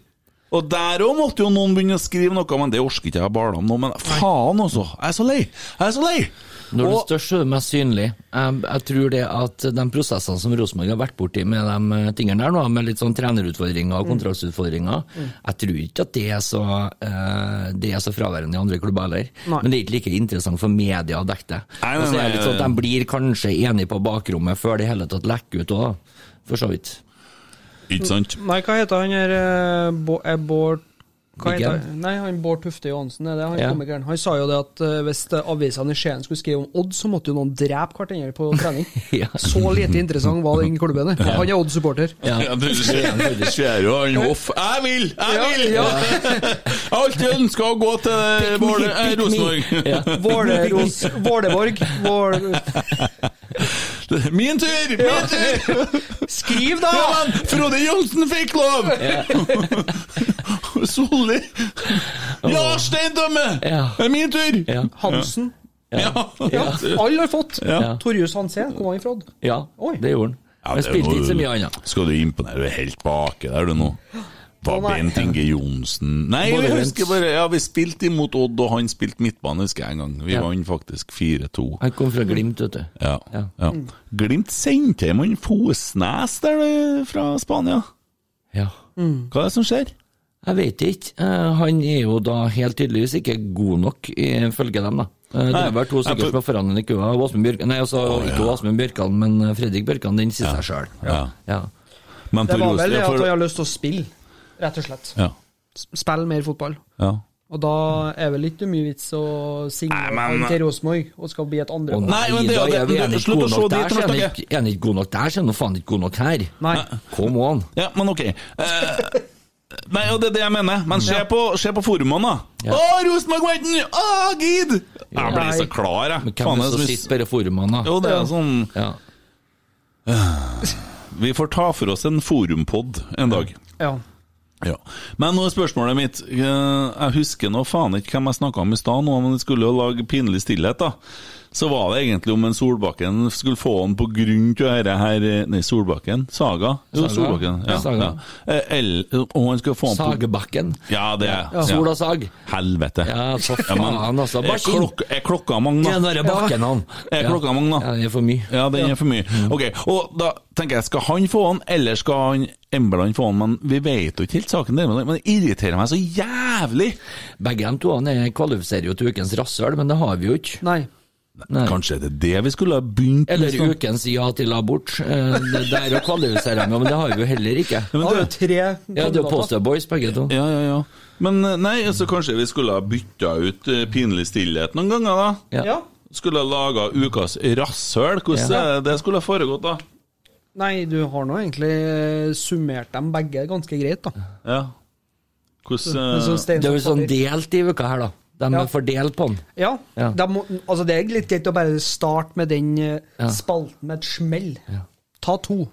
Og der òg måtte jo noen begynne å skrive noe, men det orker ikke jeg bale om nå. Men faen, altså! Jeg er så lei! Jeg er så lei! Når Og- du størst, så er du mest synlig. Jeg, jeg tror det at de prosessene som Rosenborg har vært borti med de eh, tingene der nå, med litt sånn trenerutfordringer Mm. og kontraktsutfordringer, jeg tror ikke at det er så, eh, det er så fraværende i andre klubber heller. Nei. Men det er ikke like interessant for media å dekke det. Nei, nei, Og så er nei, det litt sånn at nei. De blir kanskje enige på bakrommet før det i hele tatt lekker ut òg, for så vidt. Ikke sant? Nei, hva heter han her eh, Bå- eh, Bård hva Big heter N? han? Nei, han Bård Tufte Johansen er det, han Ja. komikeren. Han sa jo det at eh, hvis eh, avisene i Skien skulle skrive om Odd, så måtte jo noen drepe hverandre på trening. Ja. Så lite interessant var den klubben der. Han er Odd-supporter. Ja, du ser jo han Hoff. Jeg vil! Jeg vil! Ja, Jeg har alltid ønska å gå til Våle- eh, Rosenborg. Ja. Våleros, Våleborg. Vål... Min tur! Min tur! Ja, Skriv, da! men Frode Johnsen fikk lov! Solli! Ja, Steindømme! Ja. Det er min tur! Ja. Hansen. Ja. Ja, alle har fått. Ja. Torjus Hansen, hvor var han fra? Odd? Ja, Oi. det gjorde han. Ja, Men det spilte må ikke så du- mye annet. Skal du imponere? Du er helt baki der, du nå. Var Å, nei. Bent Inge Johnsen Nei, Både jeg Bent. husker bare Ja, vi spilte imot Odd, og han spilte midtbane, husker jeg en gang. Vi Ja. vant faktisk 4-2. Han kom fra Glimt, vet du. Ja. Ja. ja. Glimt sendte hjem han Fosnes der det, fra Spania. Ja. Hva er det som skjer? Jeg vet ikke. Eh, Han er jo da helt tydeligvis ikke god nok, ifølge dem, da. Eh, Det Nei, er vel to jeg stykker tror- som er foran ham i køa. Åsmund Bjørkan Nei, altså Å, ja. ikke Åsmund Bjørkan, men eh, Fredrik Bjørkan, den sier seg sjøl. Ja. Ja. Men Det for var Rosenborg- vel det at for- han har lyst til å spille, rett og slett. ja. Spille mer fotball. ja. Og da er vel ikke mye vits å signe Nei, men- han til Rosenborg og skal bli et andre Å Nei, men det er jo da det- er vi men det- enige slutt å god se nok dit, der, så er han Lars-Åke. ikke- er han ikke god nok der, så er han jo faen ikke god nok her. Nei. Come on. ja, men ok. Eh, nei, og det er det jeg mener. Men se på, se på forumene, da. Ja. Å, Rosenborg vant den! Å, gid! Jeg blir så klar, jeg. Faen, Men hvem er det jeg som synes- sitter på disse forumene, da? Jo, det er sånn Ja. Vi får ta for oss en forumpod en dag. Ja. Ja. Men nå er spørsmålet mitt eh, Jeg husker nå faen ikke hvem jeg snakka om i stad, nå, men det skulle jo lage pinlig stillhet, da. Så var det egentlig om en Solbakken skulle få han på grunn til dette her eh, Nei, Solbakken? Saga? Jo, Saga. Solbakken. Ja, Saga. Ja. Eh, El, og han skulle få han på Sagebakken. Ja, det er ja. Sol og sag. Helvete. Ja, for men faen, altså. Er, Bare skinn. klok, er klokka mange, Den da? derre bakken, han. Er klokka mange, da? Ja, det er for mye. Ja, den er for mye. Mm. Ok, og da tenker jeg, skal han få han, eller skal han Embeland få han? Men vi vet jo ikke helt saken der, men det- men det irriterer meg så jævlig! Begge de to han er- kvalifiserer jo til ukens rasshøl, men det har vi jo ikke. Nei. Nei. Kanskje det er det vi skulle ha begynt med? Eller snart? ukens ja til abort. Eh, Det det er jo kvalifiserer meg, men det har vi jo heller ikke. Ja, Da men er det det- tre Ja, det er jo Poster Boys, begge to. Ja, ja, ja. Men eh, nei, altså kanskje vi skulle ha bytta ut eh, pinlig stillhet noen ganger, da? Ja. Ja. Skulle ha laga ukas rasshøl? Hvordan Ja. eh, det skulle ha foregått, da? Nei, du har nå egentlig eh, summert dem begge ganske greit, da. Ja. Men så Hvordan eh, Stein- Eh, Det er jo sånn delt i uka her, da. De Ja. er fordelt på den. Ja. Ja. da Må, altså, det er litt greit å bare starte med den eh, Ja. spalten med et smell. Ta to.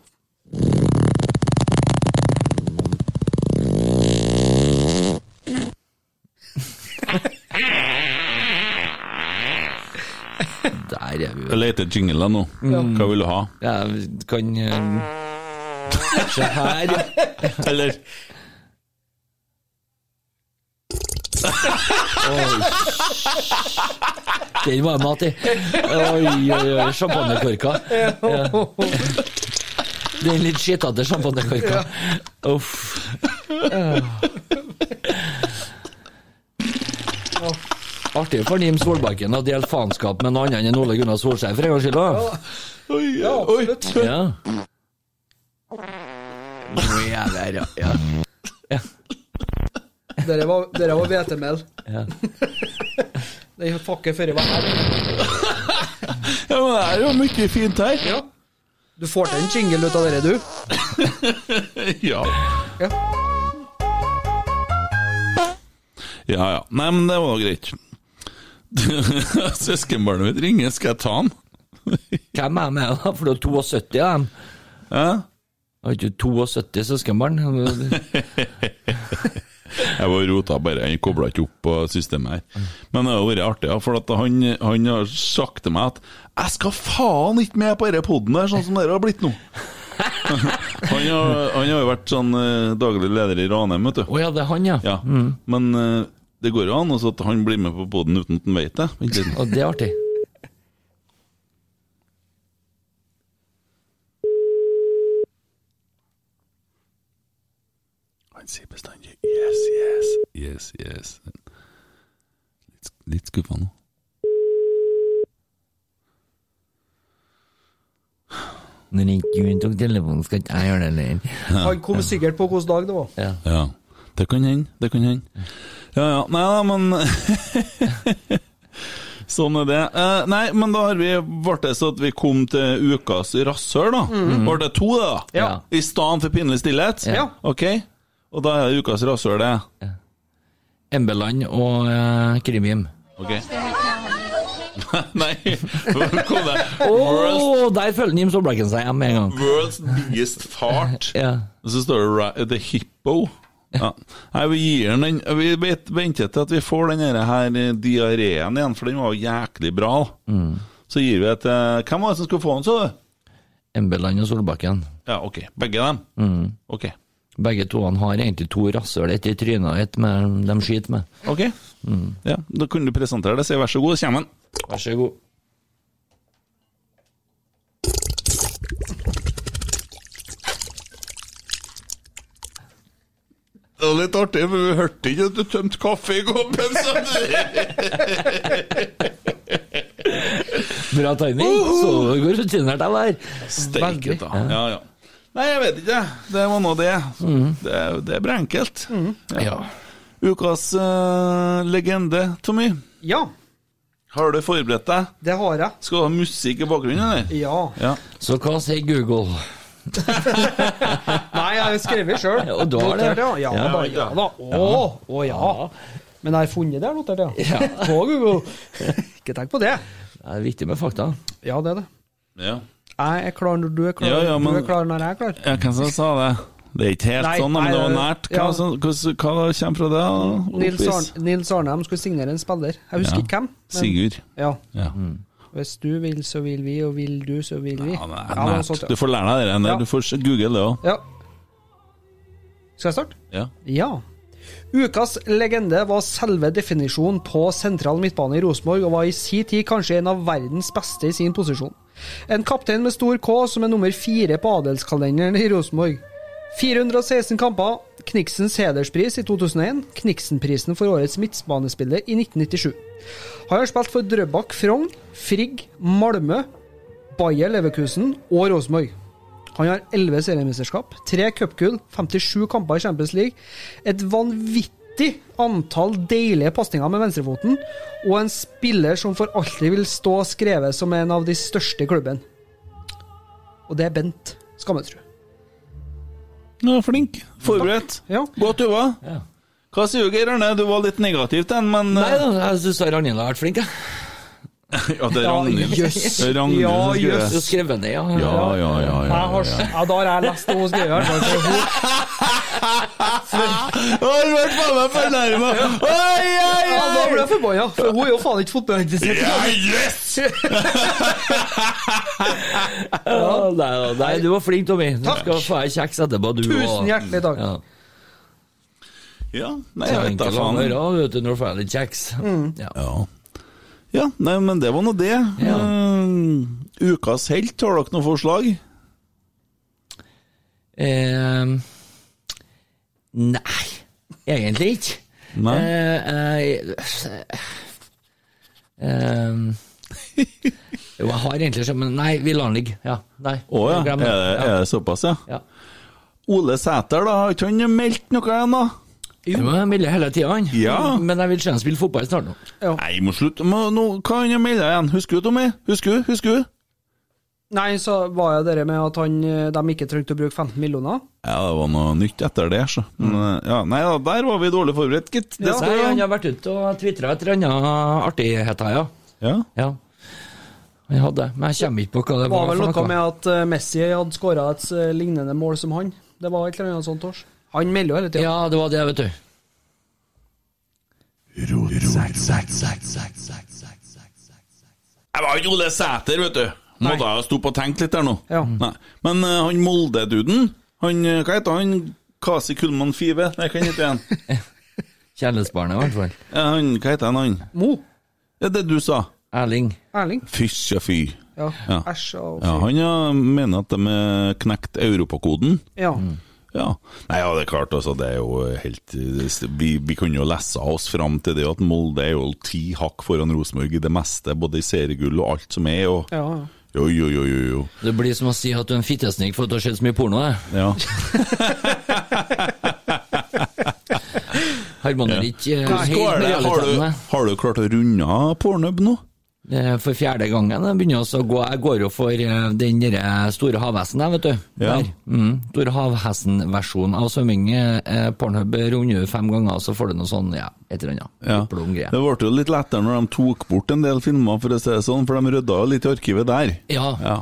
Der er vi jo. Jeg leter jingler nå. Hva vil du ha? Jeg kan eh, Se her. Eller Den var mat i. Oi, oi, oi. Champagnekorka. Den litt skittete champagnekorka. Uff. Artig for Nim Solbakken å dele faenskap med noen andre enn Ole Gunnar Solskjær for en gangs skyld. da. Oi, oi! Ja. Nå er jeg der, ja. ja. Dere var, dere var hvetemel. Ja. Den fakker før jeg var her. Ja, men det er jo mye fint her. Ja. Du får til en jingle ut av dere, du. Ja. Ja. Ja, ja. Nei, men det var greit. Søskenbarnet mitt ringer, skal jeg ta han? Hvem er med, da? For det er 72 av dem. Hæ? Har ikke du 72 søskenbarn? Jeg var rota bare, jeg kobla ikke opp på systemet her. Men det har vært artig, ja, for at han, han har sagt til meg at 'jeg skal faen ikke med på denne poden der, sånn som dere har blitt nå'. han, har, han har jo vært sånn eh, daglig leder i Ranheim, vet du. Å ja, det er han, ja. Ja. Men eh, det går jo an også at han blir med på poden uten at han vet det. Vent litt. Og det er artig. Han sier bestandig 'yes, yes, yes, yes'. Litt, litt skuffa nå. Når ikke du tok telefonen, skal ikke jeg gjøre det lenger. Han kom sikkert på hvilken dag det var. Ja. Ja, det kan hende, det kan hende. Ja, ja, nei da, men Sånn er det. Eh, nei, men da har vi ble det så at vi kom til ukas rasshøl, da. Ble det to, det, da? Mm. Ja. I stedet for pinlig stillhet? Ja. Ok, og da er det ukas rasshøl, det. Embeland og eh, Krimhjem. Ok. nei, hvor kom det? Å, World's, der følger Jim Solbakken seg hjem med en gang. world's biggest fart. Ja. Og så står det ra- The Hippo. Ja. Nei, vi gir den den Vi vet- venter til at vi får den her, her eh, diareen igjen, for den var jo jæklig bra. Så gir vi et eh, Hvem var det som skulle få den, så du? Embeland og Solbakken. Ja, ok. Begge dem? Ok. Begge to han har egentlig to rasshøl, ett i trynet og ett med de skyter med. Ok. Ja, da kunne du presentere det. Si vær så god, så kommer den. Vær så god. Det var litt artig, for vi hørte ikke at du tømte kaffe i koppen. Bra timing. Så det går rutinert av der. Steike ta. Ja, ja. Nei, jeg vet ikke. Det var nå det. Mhm. Det, det er bare enkelt. Ja. Ukas eh, legende, Tommy. Ja, Har du forberedt deg? det har jeg. Skal du ha musikk i bakgrunnen, eller? Ja. Ja. Så hva sier Google? Nei, jeg har skrevet sjøl. Ja, og du har det? Ja, ja da. Ja, da. Å, å ja. Men jeg har funnet det, notert, ja. På Google. Ikke tenk på det. Det er viktig med fakta. Ja, det er det. ja. Jeg er klar når du er klar, Ja, ja, men- du er klar når jeg er klar. Hvem som sa det? Det er ikke helt Nei, sånn, men nei, det var nei, nært. Hva, ja. som, hva, hva kommer fra det? da? Nils, Oppis? Arn Nils Arnheim skulle signere en spiller. Jeg husker Ja. ikke hvem. men- Mm. Sigurd. Ja. Ja. Hvis du vil, så vil vi, og vil du, så vil vi. Ja, det er det var nært. sånt, ja. Du får lære deg det der. Ja. Du får google det òg. ja. Skal jeg starte? Ja. Ja. Ukas legende var selve definisjonen på sentral midtbane i Rosenborg, og var i si tid kanskje en av verdens beste i sin posisjon. En kaptein med stor K som er nummer fire på adelskalenderen i Rosenborg. 416 kamper, Kniksens hederspris i 2001, Kniksenprisen for årets midtbanespiller i 1997. Han har spilt for Drøbak, Frogn, Frigg, Malmö, Bayer Leverkusen og Rosenborg. Han har 11 seriemesterskap, 3 cupgull, 57 kamper i Champions League, et vanvittig antall deilige pasninger med venstrefoten, og en spiller som for alltid vil stå skrevet som en av de største i klubben. Og det er Bent Skammetrud. Ja, flink. Forberedt. Ja. Godt jobba. Ja. Hva sier du, Geir Arne? Du var litt negativ til den, men Nei da, jeg syns Ragnhild har vært flink, jeg. Ja, det er Ragnhild. jøss. Ragnhild Ja, som skriver. jøss. Du skrev ned, ja. Ja, ja, ja. ja, Jeg har, ja. ja, da har jeg lest det hun skriver. i hvert fall, for hun- Har vært faen meg fornærma! Oi, oi, Ja, da ble oi! jeg forbanna, for hun er jo faen ikke fotballinteressert. Ja, yes! Ja, Nei, da, nei, du var flink, Tommy. Du Takk. skal få ei kjeks etterpå, du Tusen hjertelig takk. Ja. Ja, nei, Det jeg er vet da enkelt å faen. være, vet du, når du får litt kjeks. Ja. Ja. ja, nei, men det var nå det. Ja. Eh, ukas helt, har dere noe forslag? Eh, nei, egentlig ikke. Nei? Eh, eh, eh, jo, jeg har egentlig skjønt, men nei, vi lar den ligge. Ja, nei. Å ja, er glem det, det. er det såpass, ja? Ja. Ole Sæter, da, har ikke han meldt noe ennå? Jo, han ville hele tida, han. Ja. Men jeg vil se han spille fotball snart nå. Nei, må slutte med noe. Hva han har meldt igjen? Husker du, Tommy? Husker du? Husker du? Nei, så var jo det med at han, de ikke trengte å bruke 15 millioner. Ja, det var noe nytt etter det, så. Men, eh, ja, nei da, der var vi dårlig forberedt, gitt. Det Ja. Nei, skal han jo har vært ute og tvitra et eller annet artigheter, ja. Ja. ja. Han hadde, men jeg kommer ikke på hva det Det var. var vel for noe med at eh, Messi hadde skåra et eh, lignende mål som han. Det var et eller annet sånt års. Han melder jo hele tida. Ja, det var det, vet du. Jeg var jo ikke Ole Sæter, vet du. Måtte jeg ha stått og tenkt litt der nå. Ja. Nei. Men eh, han Molde-duden, han eh, Hva heter han? Kasi Kullmann Five? Nei, hva heter han? Kjærlighetsbarnet, i hvert fall. Ja, han hva heter han, han? Mo. Det er det du sa. Erling. Erling. Fysja fy. Ja. Ja. Æsj. og- Ja, han ja, mener at de har knekt europakoden. Ja. Ja. Nei, ja, det er klart, altså. Det er jo helt Vi, vi kunne jo lese oss fram til det at Molde er jo ti hakk foran Rosenborg i det meste, både i seriegull og alt som er, og Ja, ja. Jo, jo, jo, jo. jo. Det blir som å si at du er en fittesnik for at du har sett så mye porno. Jeg. Ja. Harmoner ikke eh, helt Skål, med har, du, realitetene. har du klart å runde av pornhub nå? Det er For fjerde gangen jeg begynner også å gå Jeg går jo for eh, den derre store havhesten, jeg, vet du. Ja. Der. Mm, store havhesten-versjonen av svømming. Eh, Pornhub runder jo fem ganger, så får du noe sånn, ja, et eller annet. Ja. Oppblom-greie. Det ble jo litt lettere når de tok bort en del filmer, for å si det sånn, for de rydda jo litt i arkivet der. Ja, ja. Mm. Ja.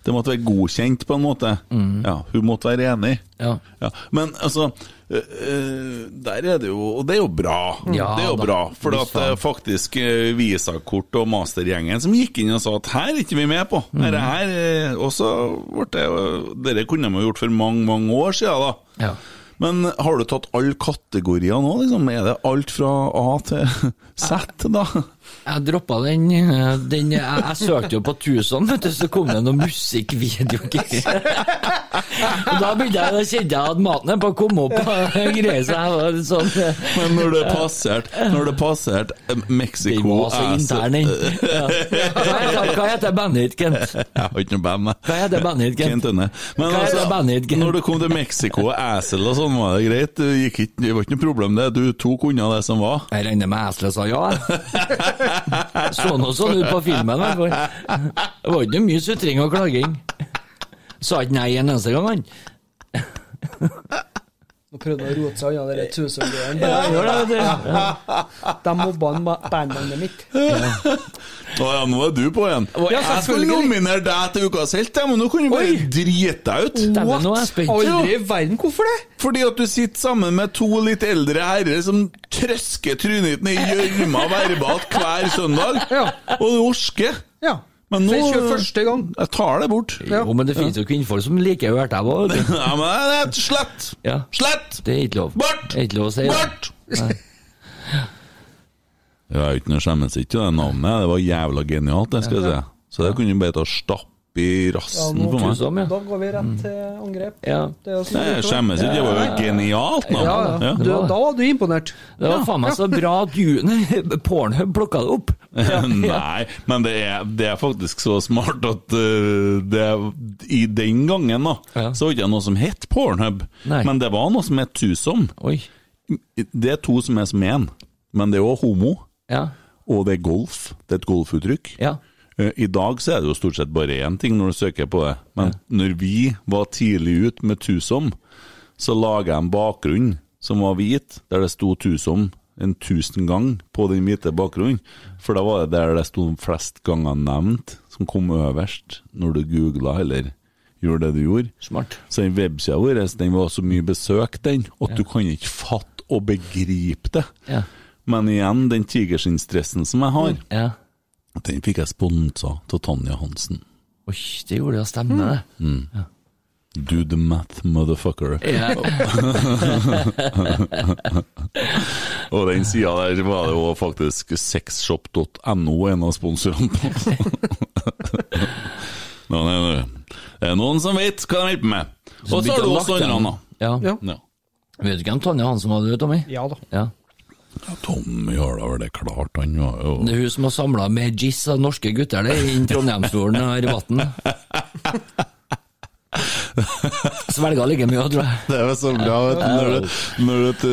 Det måtte være godkjent, på en måte. Ja, hun måtte være enig. ja. Ja. Men altså øh, øh, Der er det jo Og det er jo bra. Ja, det er jo da. bra. For at Visst faen. eh, faktisk eh, Visakort og mastergjengen som gikk inn og sa at her er ikke vi med på. Dette Mm. her eh, Og så ble det jo- Dette kunne de jo gjort for mange, mange år siden, da. Ja. Men har du tatt alle kategorier nå, liksom? Er det alt fra A til Z, da? Jeg droppa den. eh, den jeg, jeg søkte jo på Tuson, vet du, så kom det noen musikkvideogreier. Og da begynte jeg, da kjente jeg at maten er på å komme opp og greier så jeg var litt sånn eh, Men når det passerte Når det passerte eh, Den Mexico var så er intern, den. Ja. Hva heter- Hva heter bandet ditt, Kent? Jeg har ikke noe band, jeg. Hva heter bandet ditt, Kent? Kent Ønne. Men Hva heter bandet ditt, altså, Kent? når du kom til Mexico og Æsel og sånn, var det greit? Det, gikk ikke, det var ikke noe problem, det. Du tok unna det som var. Jeg regner med Æsle sa ja. jeg. Så nå sånn ut på filmen, i hvert fall. Det var ikke noe mye sutring og klaging. Sa ikke nei en eneste gang, han. Nå prøvde han å rote seg unna den Ja, tusengreiene. gjør det, vet du. De mobba han ba- bandnavnet mitt. Å ja, nå er du på igjen. Å, ja, jeg skulle selvfølgelig. nominere deg til ukas helt, jeg, men nå kunne du bare Oi. Mm. drite deg ut. Dæven, nå er jeg spent. Aldri i verden! Hvorfor det? Fordi at du sitter sammen med to litt eldre herrer som trøsker trynet ditt ned i gjørma verbalt hver søndag, og du orsker. Ja. Men nå For første gang. Jeg tar det bort. Ja. Jo, men det finnes jo kvinnfolk som liker hørt deg òg. Ja, men det er slett! Ja. Slett! Det er ikke lov. Bort! Det er ikke lov å si det. Bort! Jeg er ikke noe skjemmes ikke, det navnet. Det var jævla genialt, det skal jeg si. Så det kunne bare ta stapp i rassen Ja, nå på meg. Tusen, ja. Da går vi rett til angrep. Ja. Det er jo sånn Nei, det jeg er. skjemmes ikke, det var jo genialt Ja, navn. ja. Du, da var du imponert. Det var faen meg så bra at du nei, Pornhub plukka det opp. Nei, men det er, det er faktisk så smart at eh, det, i den gangen da, Ja. så var det ikke noe som het Pornhub, Nei. men det var noe som het Tusom. Oi. Det er to som er som én, men det er også homo, Ja. og det er golf. Det er et golfuttrykk. Ja. Eh, I dag så er det jo stort sett bare én ting når du søker på det, men når vi var tidlig ut med Tusom, så laget jeg en bakgrunn som var hvit, der det sto Tusom en tusen gang på den hvite bakgrunnen. For da var det der det sto flest ganger nevnt, som kom øverst når du googla eller gjorde det du gjorde. Smart. Så den websida vår den var så mye besøkt, den, at du kan ikke fatte og begripe det. Ja. Men igjen, den tigerskinnstressen som jeg har, ja. den fikk jeg sponsa av Tanja Hansen. Oi, det gjorde det å stemme, det. Do the math, motherfucker. Ja. Og den sida der var det jo faktisk sexshop.no en av sponsorene på. Nå, nei, nei. Det er noen som vet hva de hjelper med. Og så har du også andre, Ja. Ja. da. Ja. Vet du hvem Tonje Hansen var, du, Tommy? Ja da. Ja. Tommy har da vel det klart, han var Det jo er hun som har samla med giss av norske gutter det, innen Trondheimsfjorden og her i Vatn. Svelga like mye, tror jeg. Det er så bra, vet du. Når du, når du,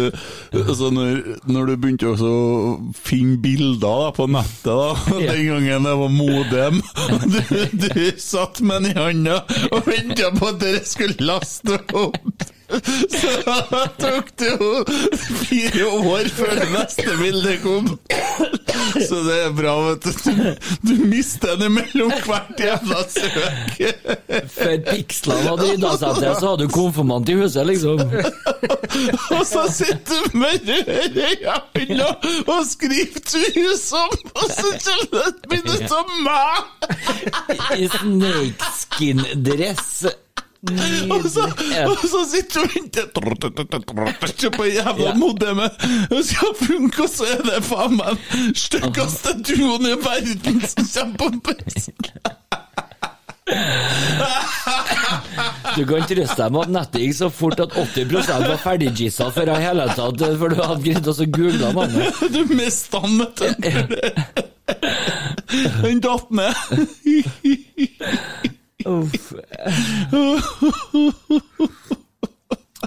altså når, når du begynte også å finne bilder da, på nettet, da, den gangen det var modem Du, du satt med den i handa og venta på at dere skulle laste opp! Så da tok det jo fire år før det neste bildet kom. Så det er bra, vet du. Du, du mister det mellom hvert jævla søk. Før pikslene hadde rydda seg til, så hadde du konfirmant i huset, liksom. Og så sitter du med røret unna og skriver tusen, og så kommer det et minutt av meg! I snakeskin-dress. Og så, og så sitter du og venter på jævla Ja. modemet. Det skal funke, og så er det faen meg den styggeste duoen i verden som kommer på bussen! Du kan trøste deg med at nettet gikk så fort at 80 var ferdiggissa før jeg i hele tatt For du hadde greid å google navnet. Du mista den, vet du. Den datt ned. Uff.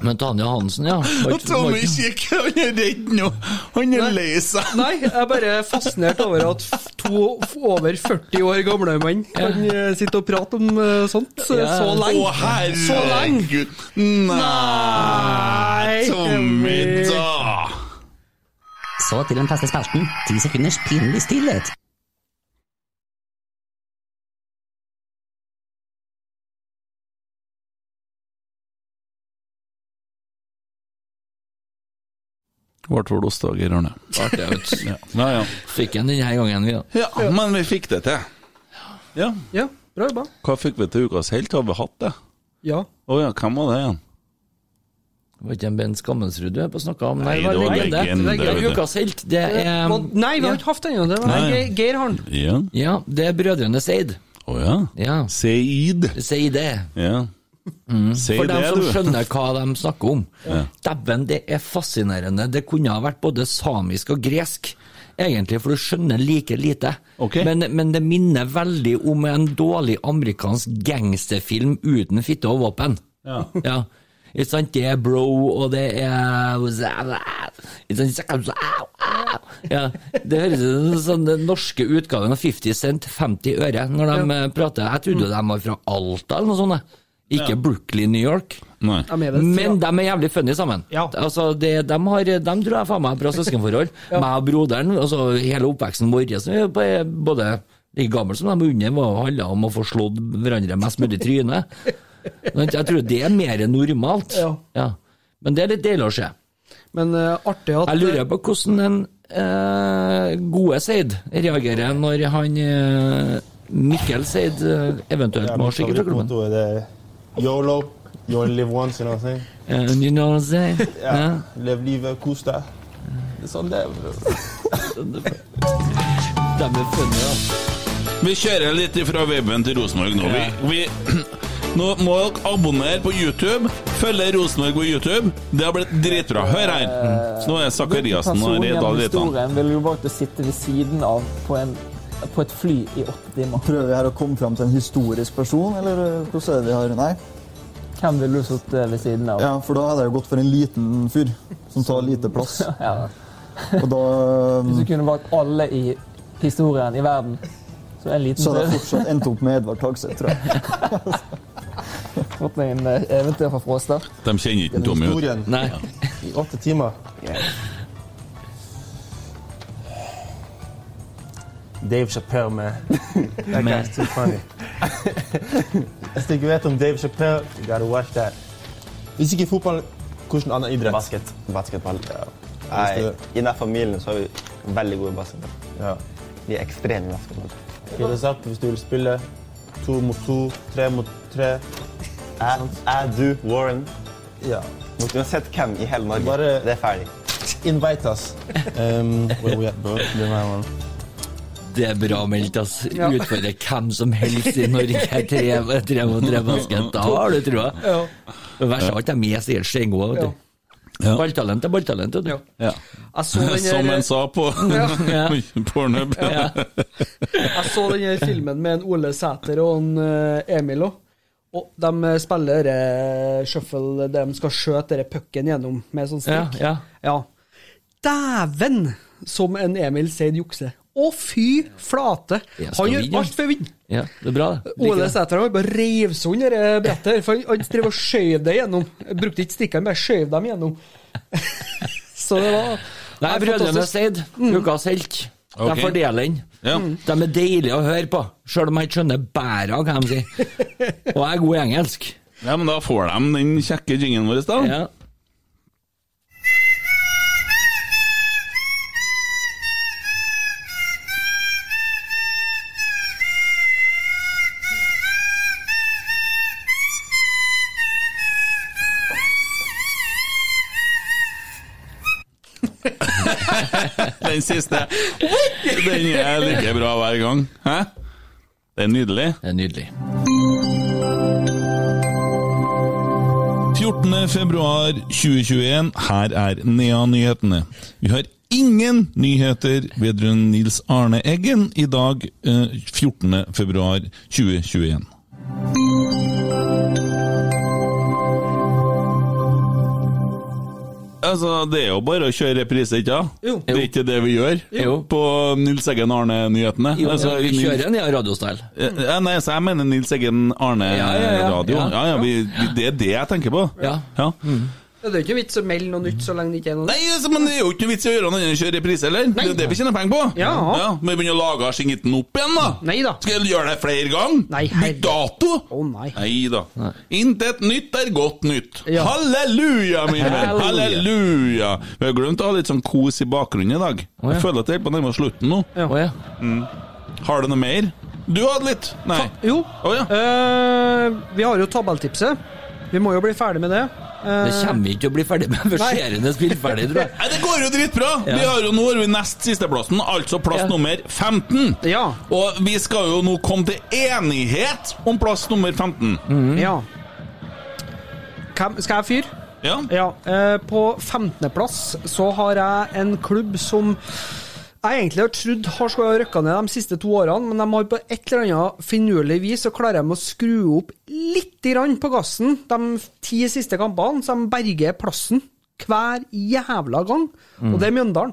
Men Tanja Hansen, ja. Var Og ikke- var Tommy ikke- kikker, han er redd nå. Han er lei seg. Nei, jeg er bare fascinert over at f- to f- over 40 år gamle menn kan eh, sitte og prate om eh, sånt eh, Ja. så Å, lenge. Så lenge. herregud. Nei, Tommy, da. Så til den faste spalten. Ti sekunders pinlig stillhet. Ble vel ostedager, Arne. Artig, vet du. Ja, ja. Fikk en denne gangen, vi, da. Ja, men vi fikk det til. Ja. Ja, bra jobba. Hva fikk vi til ukas helt? Har vi hatt det? Ja. Å ja, hvem var det igjen? Var ikke en Ben Skammensrud du er på å snakke om? Nei, det var legende, vet du. Ukas helt, det er Må- Nei, vi har ikke hatt den ennå. Det var Nei. Ge- Geir har den. Ja. Ja, det er Brødrene Seid. Å ja. Ja, Seid. si det. Ja. Si Mm. For dem det, som du. skjønner hva de snakker om. Dæven, det er fascinerende. Det kunne ha vært både samisk og gresk, egentlig, for du skjønner like lite. Ok. Men, men det minner veldig om en dårlig amerikansk gangsterfilm uten fitte og våpen. Ja. Ja. Ikke sant? Det er bro, og det er Ikke sant? ja, Det høres ut som sånn, den norske utgaven av 50 cent, 50 øre, når de eh, prater. Jeg trodde de var fra Alta eller noe sånt. jeg. Ikke Brooklyn, New York. Nei. Jeg er med det. Men de er jævlig funny sammen. Ja. Altså, det, de, har, de tror jeg faen meg har bra søskenforhold. Meg og broderen, altså hele oppveksten vår, som er på- både like gammel som de er under, var handla om å få slått hverandre mest mulig i trynet. Men Jeg tror det er mer normalt. Ja. Men det er litt deilig å se. Men eh, artig at Jeg lurer på hvordan den eh, gode Seid reagerer når han eh, Mikkel Seid eh, Ah, eventuelt må skikke fra klubben. with uh, YOLO. You only live once, you know what I'm saying? Eh, you know what I'm saying? Ja. Live, live, Costa. It's on there, bro. De er funny, da. Vi kjører litt fra weben til Rosenborg nå. Vi, vi, nå må dere abonnere på YouTube. Følge Rosenborg på YouTube. Det har blitt dritbra. Hør her! Mm. Nå er Sakariassen og Reda Litan. ville du valgt å sitte ved siden av på, en, på et fly i åtte timer? Prøver vi her å komme fram til en historisk person, eller eh, hvordan er det vi har? Nei? Hvem ville du sittet ved siden av? Ja, for da hadde jeg jo gått for en liten fyr som tar lite plass. Og da eh, Hvis du kunne valgt alle i historien i verden, så er en så liten hadde jeg død fortsatt endt opp med Edvard Tagseth, tror jeg. fått meg en eh, eventyr fra Fråstad. De kjenner ikke Tommy ut. Historien Nei. i åtte timer. Dave Chappelle, man. That guy's too funny. Hvis du ikke vet om Dave Chappelle, you gotta watch that. Hvis ikke fotball, hvilken annen idrett? Basket. Basketball. Ja. Nei, I denne familien så er vi veldig gode i basketball. Ja. Vi er ekstreme i basketball. Fire sagt, hvis du vil spille to mot to, tre mot tre. Jeg, du, Warren. Ja. Uansett hvem i hele Norge. Bare det er ferdig. Invite us. Um, where we at, bro? Det er meg, man. Det er bra meldt, ass. Utfordre hvem som helst i Norge. Tre tre mot tre basket. Da har du trua. Ja. Det verste av alt, de er sikkert skjengode, vet du. Ja. Balltalent er balltalent, vet du. Ja. Ja. Jeg så den Som her- en sånn. sa på Ja. Pornhub. Jeg så den her filmen med en Ole Sæter og en eh, Emil òg. Og de spiller eh, shuffle der de skal skjøte denne pucken gjennom med sånn Ja, stikk. ja. Ja. Dæven som en Emil Seid jukser! Å, Å, fy flate! Jeg skal Han gjør vinne. alt for å vinne. Ja, det er bra, det. Liker Ole det. Sæter han bare rev seg under det brettet, her, for han- han drev og skjøv det gjennom. Jeg Brukte ikke stikkene, bare skjøv dem gjennom. Så det var Nei, det er Brødrene fantastisk. Seid, ukas helt. Ok. De fordeler den. Ja. Mm. De er deilige å høre på, sjøl om jeg ikke skjønner bæret av hva de sier. Og jeg er god i engelsk. Ja, men da får de den kjekke jingen vår, da. Ja. Den siste. Den er like bra hver gang. Hæ? Det er nydelig. Det er nydelig. 14. februar 2021, her er NEA-nyhetene. Vi har ingen nyheter vedrørende Nils Arne Eggen i dag, eh, 14. februar 2021. Altså, Det er jo bare å kjøre reprise, ikke sant? Jo. Det er ikke det vi gjør Jo. på Nils Eggen Arne-nyhetene. Jo, Altså, vi Nils- kjører en ja, radiostyle. ja, nei, så jeg mener Nils Eggen Arne Ja, ja, ja. Radio. Ja. Ja, ja, vi, vi, Det er det jeg tenker på. Ja. Det er jo ikke vits å melde noe nytt så lenge det ikke er noe Nei, altså, men Det er jo ikke noe vits i å gjøre noe annet enn å kjøre reprise, eller? Det er jo det vi tjener penger på. Ja. Men vi begynner å lage skingitten opp igjen, da. Nei da. Skal jeg gjøre det flere ganger? Nei, herre- Bytt dato? Å, nei. da. Intet nytt er godt nytt. Ja. Halleluja, min venn! Halleluja. Halleluja! Vi har glemt å ha litt sånn kos i bakgrunnen i dag. Å, ja. Jeg føler at det er på nærmere slutten nå. Å ja. Har du noe mer? Du hadde litt? Nei. Jo, Å, ja. eh, vi har jo tabelltipset. Vi må jo bli ferdig med det. Eh, Det kommer vi ikke til å bli ferdig med før Nei. serien er spilt ferdig, tror jeg. Nei, Det går jo dritbra! Ja. Vi har jo nå er vi nest sisteplassen, altså plass Ja. nummer 15. ja. Og vi skal jo nå komme til enighet om plass nummer 15. Mm. ja. Hvem, skal jeg fyre? Ja. Ja. Eh, på 15.-plass så har jeg en klubb som jeg egentlig har trodd har skulle ha rykka ned de siste to årene, men de har på et eller annet finurlig vis så klarer de å skru opp litt grann på gassen de ti siste kampene, så de berger plassen hver jævla gang. Og det er Mjøndalen.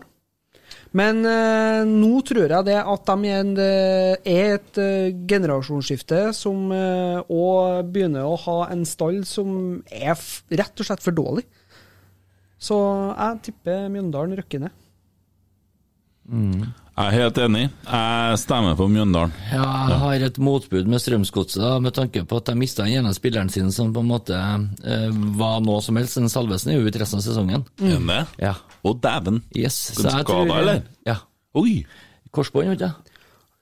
Men eh, nå tror jeg det at de er, en, eh, er et eh, generasjonsskifte som eh, Og begynner å ha en stall som er f rett og slett for dårlig. Så jeg tipper Mjøndalen rykker ned. Jeg er helt enig. Jeg stemmer på Mjøndalen. Ja, jeg har et motbud med Strømsgodset, da, med tanke på at de mista den ene spilleren sin som på en måte eh, var noe som helst. Den Salvesen er jo ute resten av sesongen. Enig? Ja. Å, dæven. Yes. Den skada, eller? Ja. Oi! eh, Korsbånd, vet du.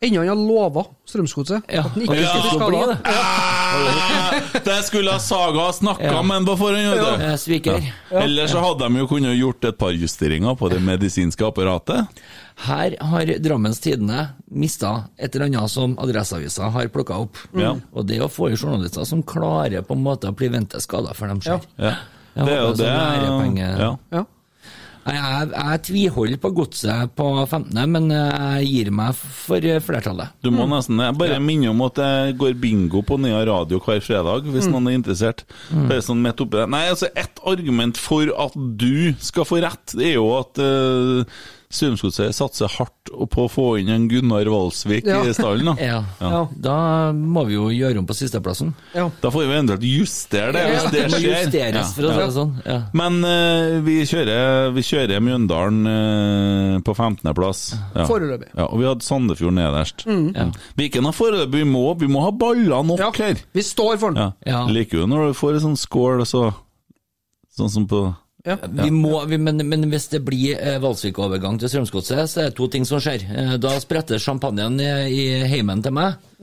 Ennå han har lova Strømsgodset Ja, at han og ikke det skal bli skal bli skada. det. Ah, det skulle ha Saga ha snakka Ja. om en på forhånd. vet du. Eh, Sviker. Ellers så hadde de jo kunnet gjort et par justeringer på det medisinske apparatet. Her har Drammens Tidende mista et eller annet som Adresseavisa har plukka opp. Ja. Og det å få i journalister som klarer på en måte å prevente skader før de Ja. skjer. Ja. Jeg Det er jo håper det. sånn ærepenger- Ja. Ja. Jeg, jeg, jeg tviholder på godset på 15., men eh, jeg gir meg for flertallet. Du må nesten Jeg bare minner om at jeg går bingo på Nea Radio hver fredag, Mm. hvis noen er interessert. Det er sånn midt oppi det. Nei, altså, ett argument for at du skal få rett, det er jo at uh, Strømsgodset satser hardt på å få inn en Gunnar Valsvik Ja. i stallen. Da. Ja. Ja. Da må vi jo gjøre om på sisteplassen. Ja. da får vi eventuelt justere det, hvis det Det må skjer. justeres, for å si det sånn. Ja. Men eh, vi, kjører, vi kjører Mjøndalen eh, på 15.-plass. Ja. Foreløpig. Ja, og vi hadde Sandefjord nederst. Ja. Viken har foreløpig vi må, vi må ha ballene nok Ja. her! Vi står for den. Ja. Ja. Liker jo når du får en sånn skål, og så Sånn som på Vi må, vi, men, men hvis det blir eh, Valsvik-overgang til Strømsgodset, så er det to ting som skjer. Eh, da spretter champagnen i, i heimen til meg,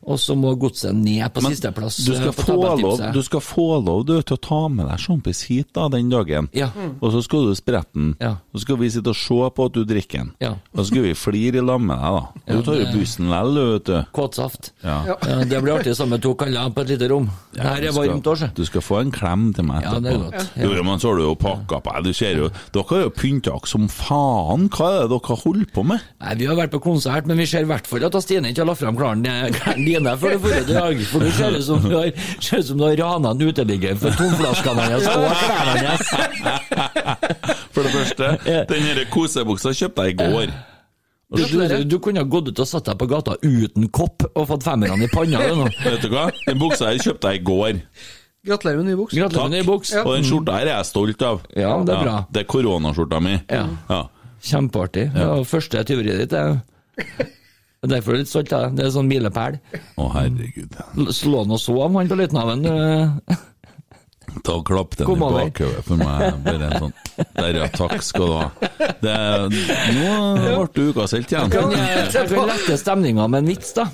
og så må godset ned på sisteplass. du eh, skal, på få lov, tabelltipset. du skal få lov du, til å ta med deg sjampis hit da, den dagen, Ja. og så skal du sprette den. Ja. Så skal vi sitte og se på at du drikker den. Ja. Da skal vi flire i lag med deg, da. Du tar jo bussen lell, du, vet du. Kåtsaft. Ja. Ja, Det blir artig sammen med to kaller på et lite rom. Det her Du er skal- varmt òg, sjø. Du skal få en klem til meg Ja, det er godt. Ja. Jo, jo, men så har du jo pakka på deg. Du ser jo, dere har jo pynta dere som faen. Hva er det dere holder på med? Nei, Vi har vært på konsert, men vi ser i hvert fall at Stine ikke har lagt eh, fram klærne klærne dine før du drar i dag. For det ser ut som du har, ser ut som du har rana en uteligger for tomflaskene hans og klærne hans. For det første, den her kosebuksa kjøpte jeg i går. Du, du, Gratulerer. du kunne ha gått ut og satt deg på gata uten kopp og fått femmerne i panna. du, nå. Vet du hva? Den buksa her kjøpte jeg i går. Gratulerer med ny buks. Gratulerer med ny buks. Og den skjorta her er jeg stolt av. Ja, det er bra. det er koronaskjorta mi. Ja. Kjempeartig. Det var første tyveriet ditt. Det. er- Derfor er jeg litt stolt av deg. Det er sånn milepæl. Å, herregud. L- Slå nå så av han på Løitenhaven. du. eh, Ta og klapp den i Kom over. bakhodet for meg. Bare en sånn Der, ja. Takk skal du ha. Det, nå ble du ukaselt Kan igjen. jeg jeg kan lette stemninga med en vits, da?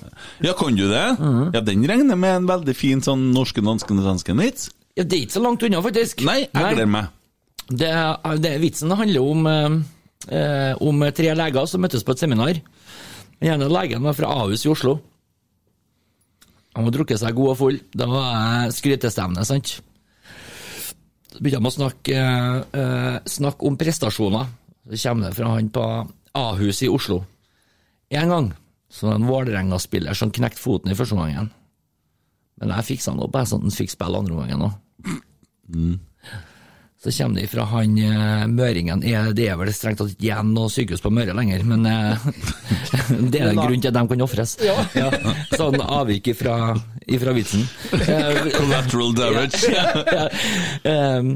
Ja, kan du det? Mhm. Ja, den regner jeg med en veldig fin sånn norske, danske, svenske vits. Ja, det er ikke så langt unna, faktisk. Nei, jeg gleder meg. Det, er- det, er- vitsen handler om, eh, eh, om tre leger som møttes på et seminar. Den ene legen var fra Ahus i Oslo. Han hadde drukket seg god og full. Da var jeg skrytestevne, sant? Så begynte de å snakke, eh, eh, snakke om prestasjoner. Det kommer det fra han på Ahus i Oslo. En gang så var det en Vålerenga-spiller som knekte foten i første omgang. Men jeg fiksa han opp, jeg, sånn at han fikk spille andre omgangen òg. Så kommer de fra han eh, møringen Eh, Det er vel strengt tatt ikke igjen noe sykehus på Møre lenger, men eh, det er en grunn til at de kan ofres. Ja, sånn avvik ifra, ifra vitsen. Eh, Collateral damage. eh,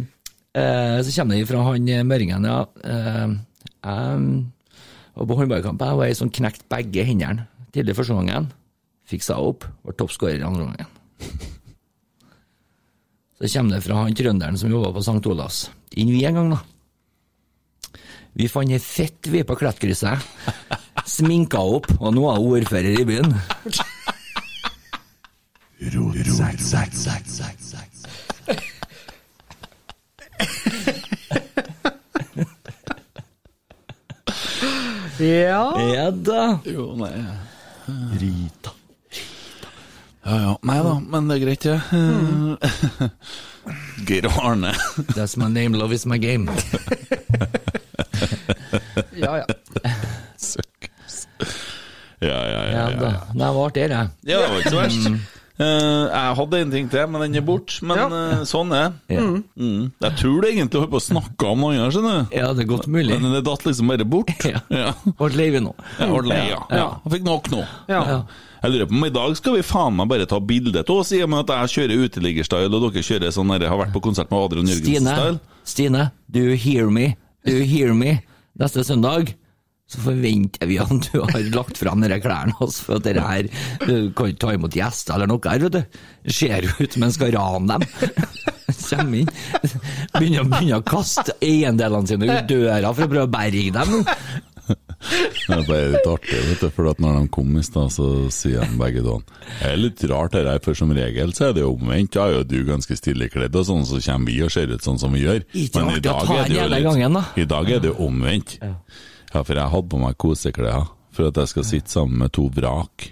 eh, så kommer de fra han eh, møringen, ja. Eh, jeg var på håndballkamp jeg var ei som knekte begge hendene tidlig første gangen. Fiksa opp, var toppskårer andre gangen. Så kommer det fra han trønderen som jobba på St. Olavs. Inn vi en gang, da. Vi fant ei fett vi på Klettkrysset. Sminka opp, og nå er hun ordfører i byen. Ja. Ja da. Jo, nei Rita. Ja ja. Nei da, men det er greit, det. Mhm. Ja. Geir Arne. That's my name, love is my game. ja, ja. Ja, ja, ja. Ja ja. da. Mm. Nei, det var artig, det. Ja, det var ikke så verst. Eh, jeg hadde en ting til, men den er borte. Men eh, sånn er det. Ja. Mm. Jeg tror det egentlig holdt på å snakke om noe annet, skjønner du. ja, det er godt mulig. Men det datt liksom bare bort. Ja. Ja. Ble lei vi nå. Jeg ble lei, ja. ja. Jeg fikk nok nå. Ja. Ja. Jeg lurer på om i dag skal vi faen meg bare ta bilde av oss, i og med at jeg kjører uteliggerstyle, og dere kjører sånn der, har vært på konsert med Adrian Stine, Jørgensen-style. Stine, do you hear me? Do you hear me? Neste søndag så forventer vi at du har lagt fram dere klærne altså, for at dere her eh, kan ta imot gjester eller noe her, vet du. Ser ut som en skal rane dem. Kjem inn, begynner, begynner å kaste eiendelene sine ut døra for å prøve å berge dem. Ja, Det er litt artig, vet du, for at når de kom i stad, så sier de begge to Det er litt rart det her, for som regel så er det jo omvendt. Ja, ja, du er ganske stille kledd og sånn, så kommer vi og ser ut sånn som vi gjør. Ikke artig å ta en jævla gangen, da. I dag er det jo omvendt. Ja, for jeg hadde på meg koseklær for at jeg skal sitte sammen med to vrak.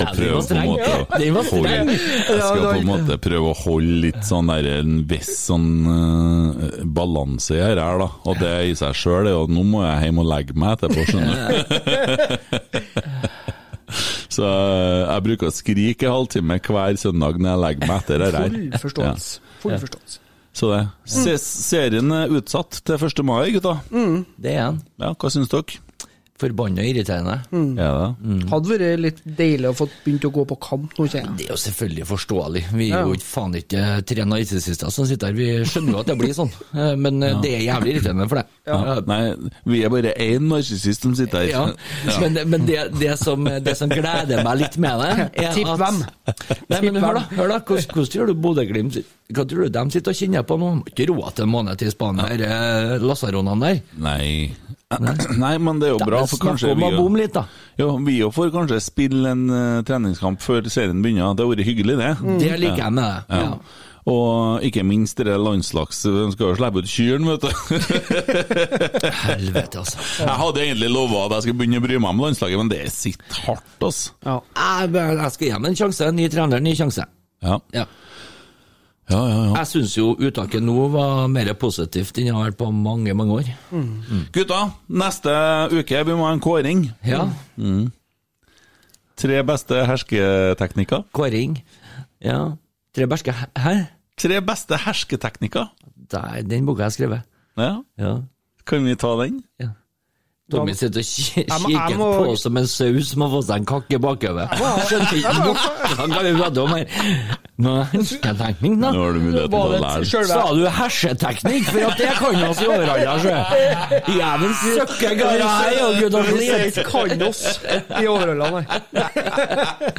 Og prøve på en måte å Den holde var streng. Jeg skal på en måte prøve å holde litt sånn der en viss sånn eh, balanse i her, da. Og det i seg sjøl er jo Nå må jeg hjem og legge meg etterpå, skjønner du. Så eh, jeg bruker å skrike en halvtime hver søndag når jeg legger meg etter det her. Full forståelse. Full forståelse. Så det. Se, serien er utsatt til 1. mai, gutta. Det er en Ja, hva syns dere? forbanna irriterende. Er det? Hadde vært litt deilig å få begynt å gå på kamp nå, kjenner jeg. Det er jo selvfølgelig forståelig. Vi er jo ikke faen ikke tre narsissister som sitter her. Vi skjønner jo at det blir sånn, Eh, men eh, det er jævlig irriterende for deg. Ja. Nei, vi er bare én narsissist som sitter her. Ja. Men, men det, det, som, det som gleder meg litt med det, er Tipp at hvem? Nei, men hør da, hør da. Hvordan, hvordan tror du Bodø-Glimt sitt- Hva tror du de sitter og kjenner på nå? De har Ikke råd til en måned til Spania, ja. lasaronene der. Nei. Nei, men det er jo bra, for kanskje Snakk om vi å jo- bomme litt, da. Jo, vi jo får kanskje spille en eh, treningskamp før serien begynner. Det har vært hyggelig, det. Mm. Det liker jeg med deg. Ja. Og ikke minst det landslags... De skal jo slippe ut kyrne, vet du. Helvete, altså. Jeg hadde egentlig lova at jeg skulle begynne å bry meg om landslaget, men det sitter hardt, altså. Jeg, jeg skal gi dem en sjanse. Ny trener, ny sjanse. Ja. Ja. ja, ja, ja. Jeg syns jo uttaket nå var mer positivt enn jeg har vært på mange, mange år. Gutta, neste uke vi må ha en kåring. Ja, Tre beste hersketeknikker. Kåring. Ja. Treberske Hæ? Tre beste hersketeknikker. Det er den boka jeg har skrevet. Ja. Ja. Kan vi ta den? Tommy sitter og ki- Jeg må- jeg kikker må- på oss som en sau som har fått seg en kakke bakover. Skjønner ikke noe Han kan jo prate om her. Nå er det hersketeknikk, da. Nå har du mulighet til å det lære. sjølve- Sa du herseteknikk? For at det kan oss i altså. overhalla, sjø. Jævlen søkke gara hei, og gud og slit. Ikke kan oss i overholdene her.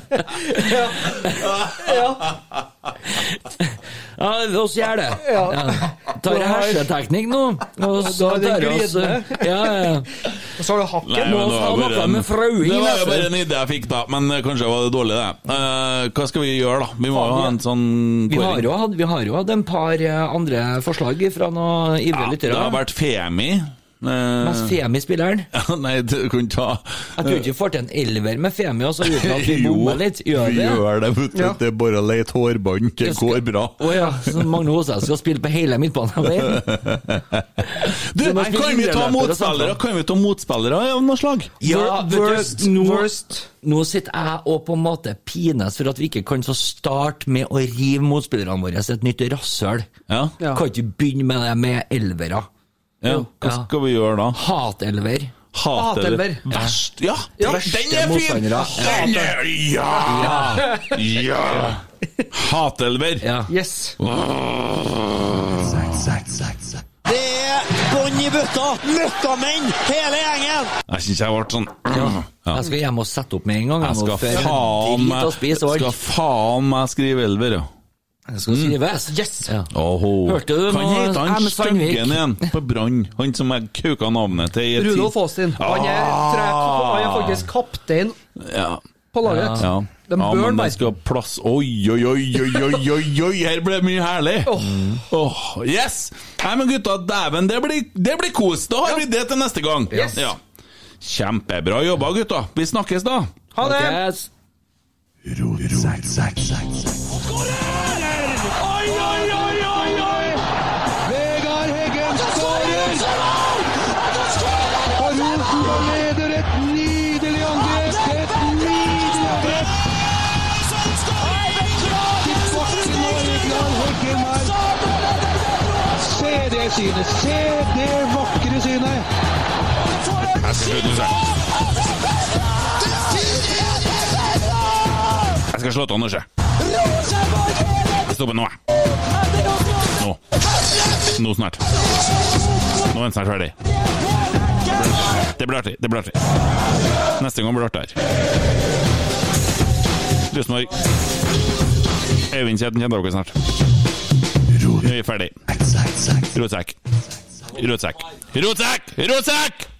Ja, oss gjør det. Ja. Tar herseteknikk nå, og så Da er det tar oss Ja, glidende. ja. Og så har du hakken. Nei, men det var, Må bare snakke en, med det Frauing, var jo altså. bare en idé jeg fikk, da. Men eh, kanskje var det dårlig, det. Eh, hva skal vi gjøre, da? Vi må jo ha en sånn Vi har, jo hatt, vi har jo hatt en par eh, andre forslag fra noen ivrige Ja, det lyttere. har vært Femi. Mest Eh, Femi-spilleren. Nei, du kunne ta Jeg tror ikke vi får til en elver med Femi også, uten at vi Jo, bommer litt. Gjør vi vi det? gjør det, vet du. Ja. Det er bare å leite hårbånd. Det Jeg skal- går bra. Å ja, så Magne Hoseth skal spille på hele midtbaneveien? Du, Du må spille kan vi ta indreløper og motspillere? sånt. Kan vi ta motspillere av noe slag? Ja, vet du, worst, nå- worst. Nå sitter jeg og på en måte pines for at vi ikke kan så starte med å rive motspillerne våre et nytt rasshøl. Ja. Ja. Kan ikke begynne med det med elvere. ja. Hva Ja. skal vi gjøre da? Hatelver. Hatelver. Hatelver. Verst Ja, den er fin! motstandere. Den er Ja! Ja. ja. Hatelver. ja. Yes. Det er bånn i bøtta! Møkkamenn, hele gjengen! Jeg syns jeg ble sånn ja. Jeg skal hjem og sette opp med en gang. Jeg nå, skal for faen drit meg å spise og alt. Skal faen meg skrive elver, ja. Det Mm. skal skrives. Yes! Ja. Oho. Hørte du Kan nå, hete han M. Sandvik? Styggen igjen, på Brann. Han som jeg kauka navnet til i et Rudolf tid. Aastin. Han er, tre, han er faktisk kaptein Ah. Ja. på laget. Ja. De ja, bør men det bare- skal plass Oi, oi, oi, oi, oi, oi, oi. her ble det mye herlig! Åh, yes! Nei, men gutta, dæven, det blir, det blir kos! Da har vi det til neste gang! Yes. Ja. Kjempebra jobba, gutta. Vi snakkes da. Ha det! Yes. Oi, oi, oi, oi, oi! Vegard Heggen skårer! Og Rosenborg leder et nydelig angrep! Et nydelig angrep! Tilbake nå, Vegard Heggen her. Se det synet! Se det vakre synet! Jeg skal slutte å se. Jeg skal slå til Anders, jeg. Jeg stopper nå, jeg. Nå. Nå snart. Nå er den snart ferdig. Det blir artig. Det blir artig. Neste gang blir det artigere. er Rosenborg. Øyvindkjeden kommer dere snart. Nå er vi ferdig. Rotsekk. Rotsekk. Rotsekk! Rotsekk!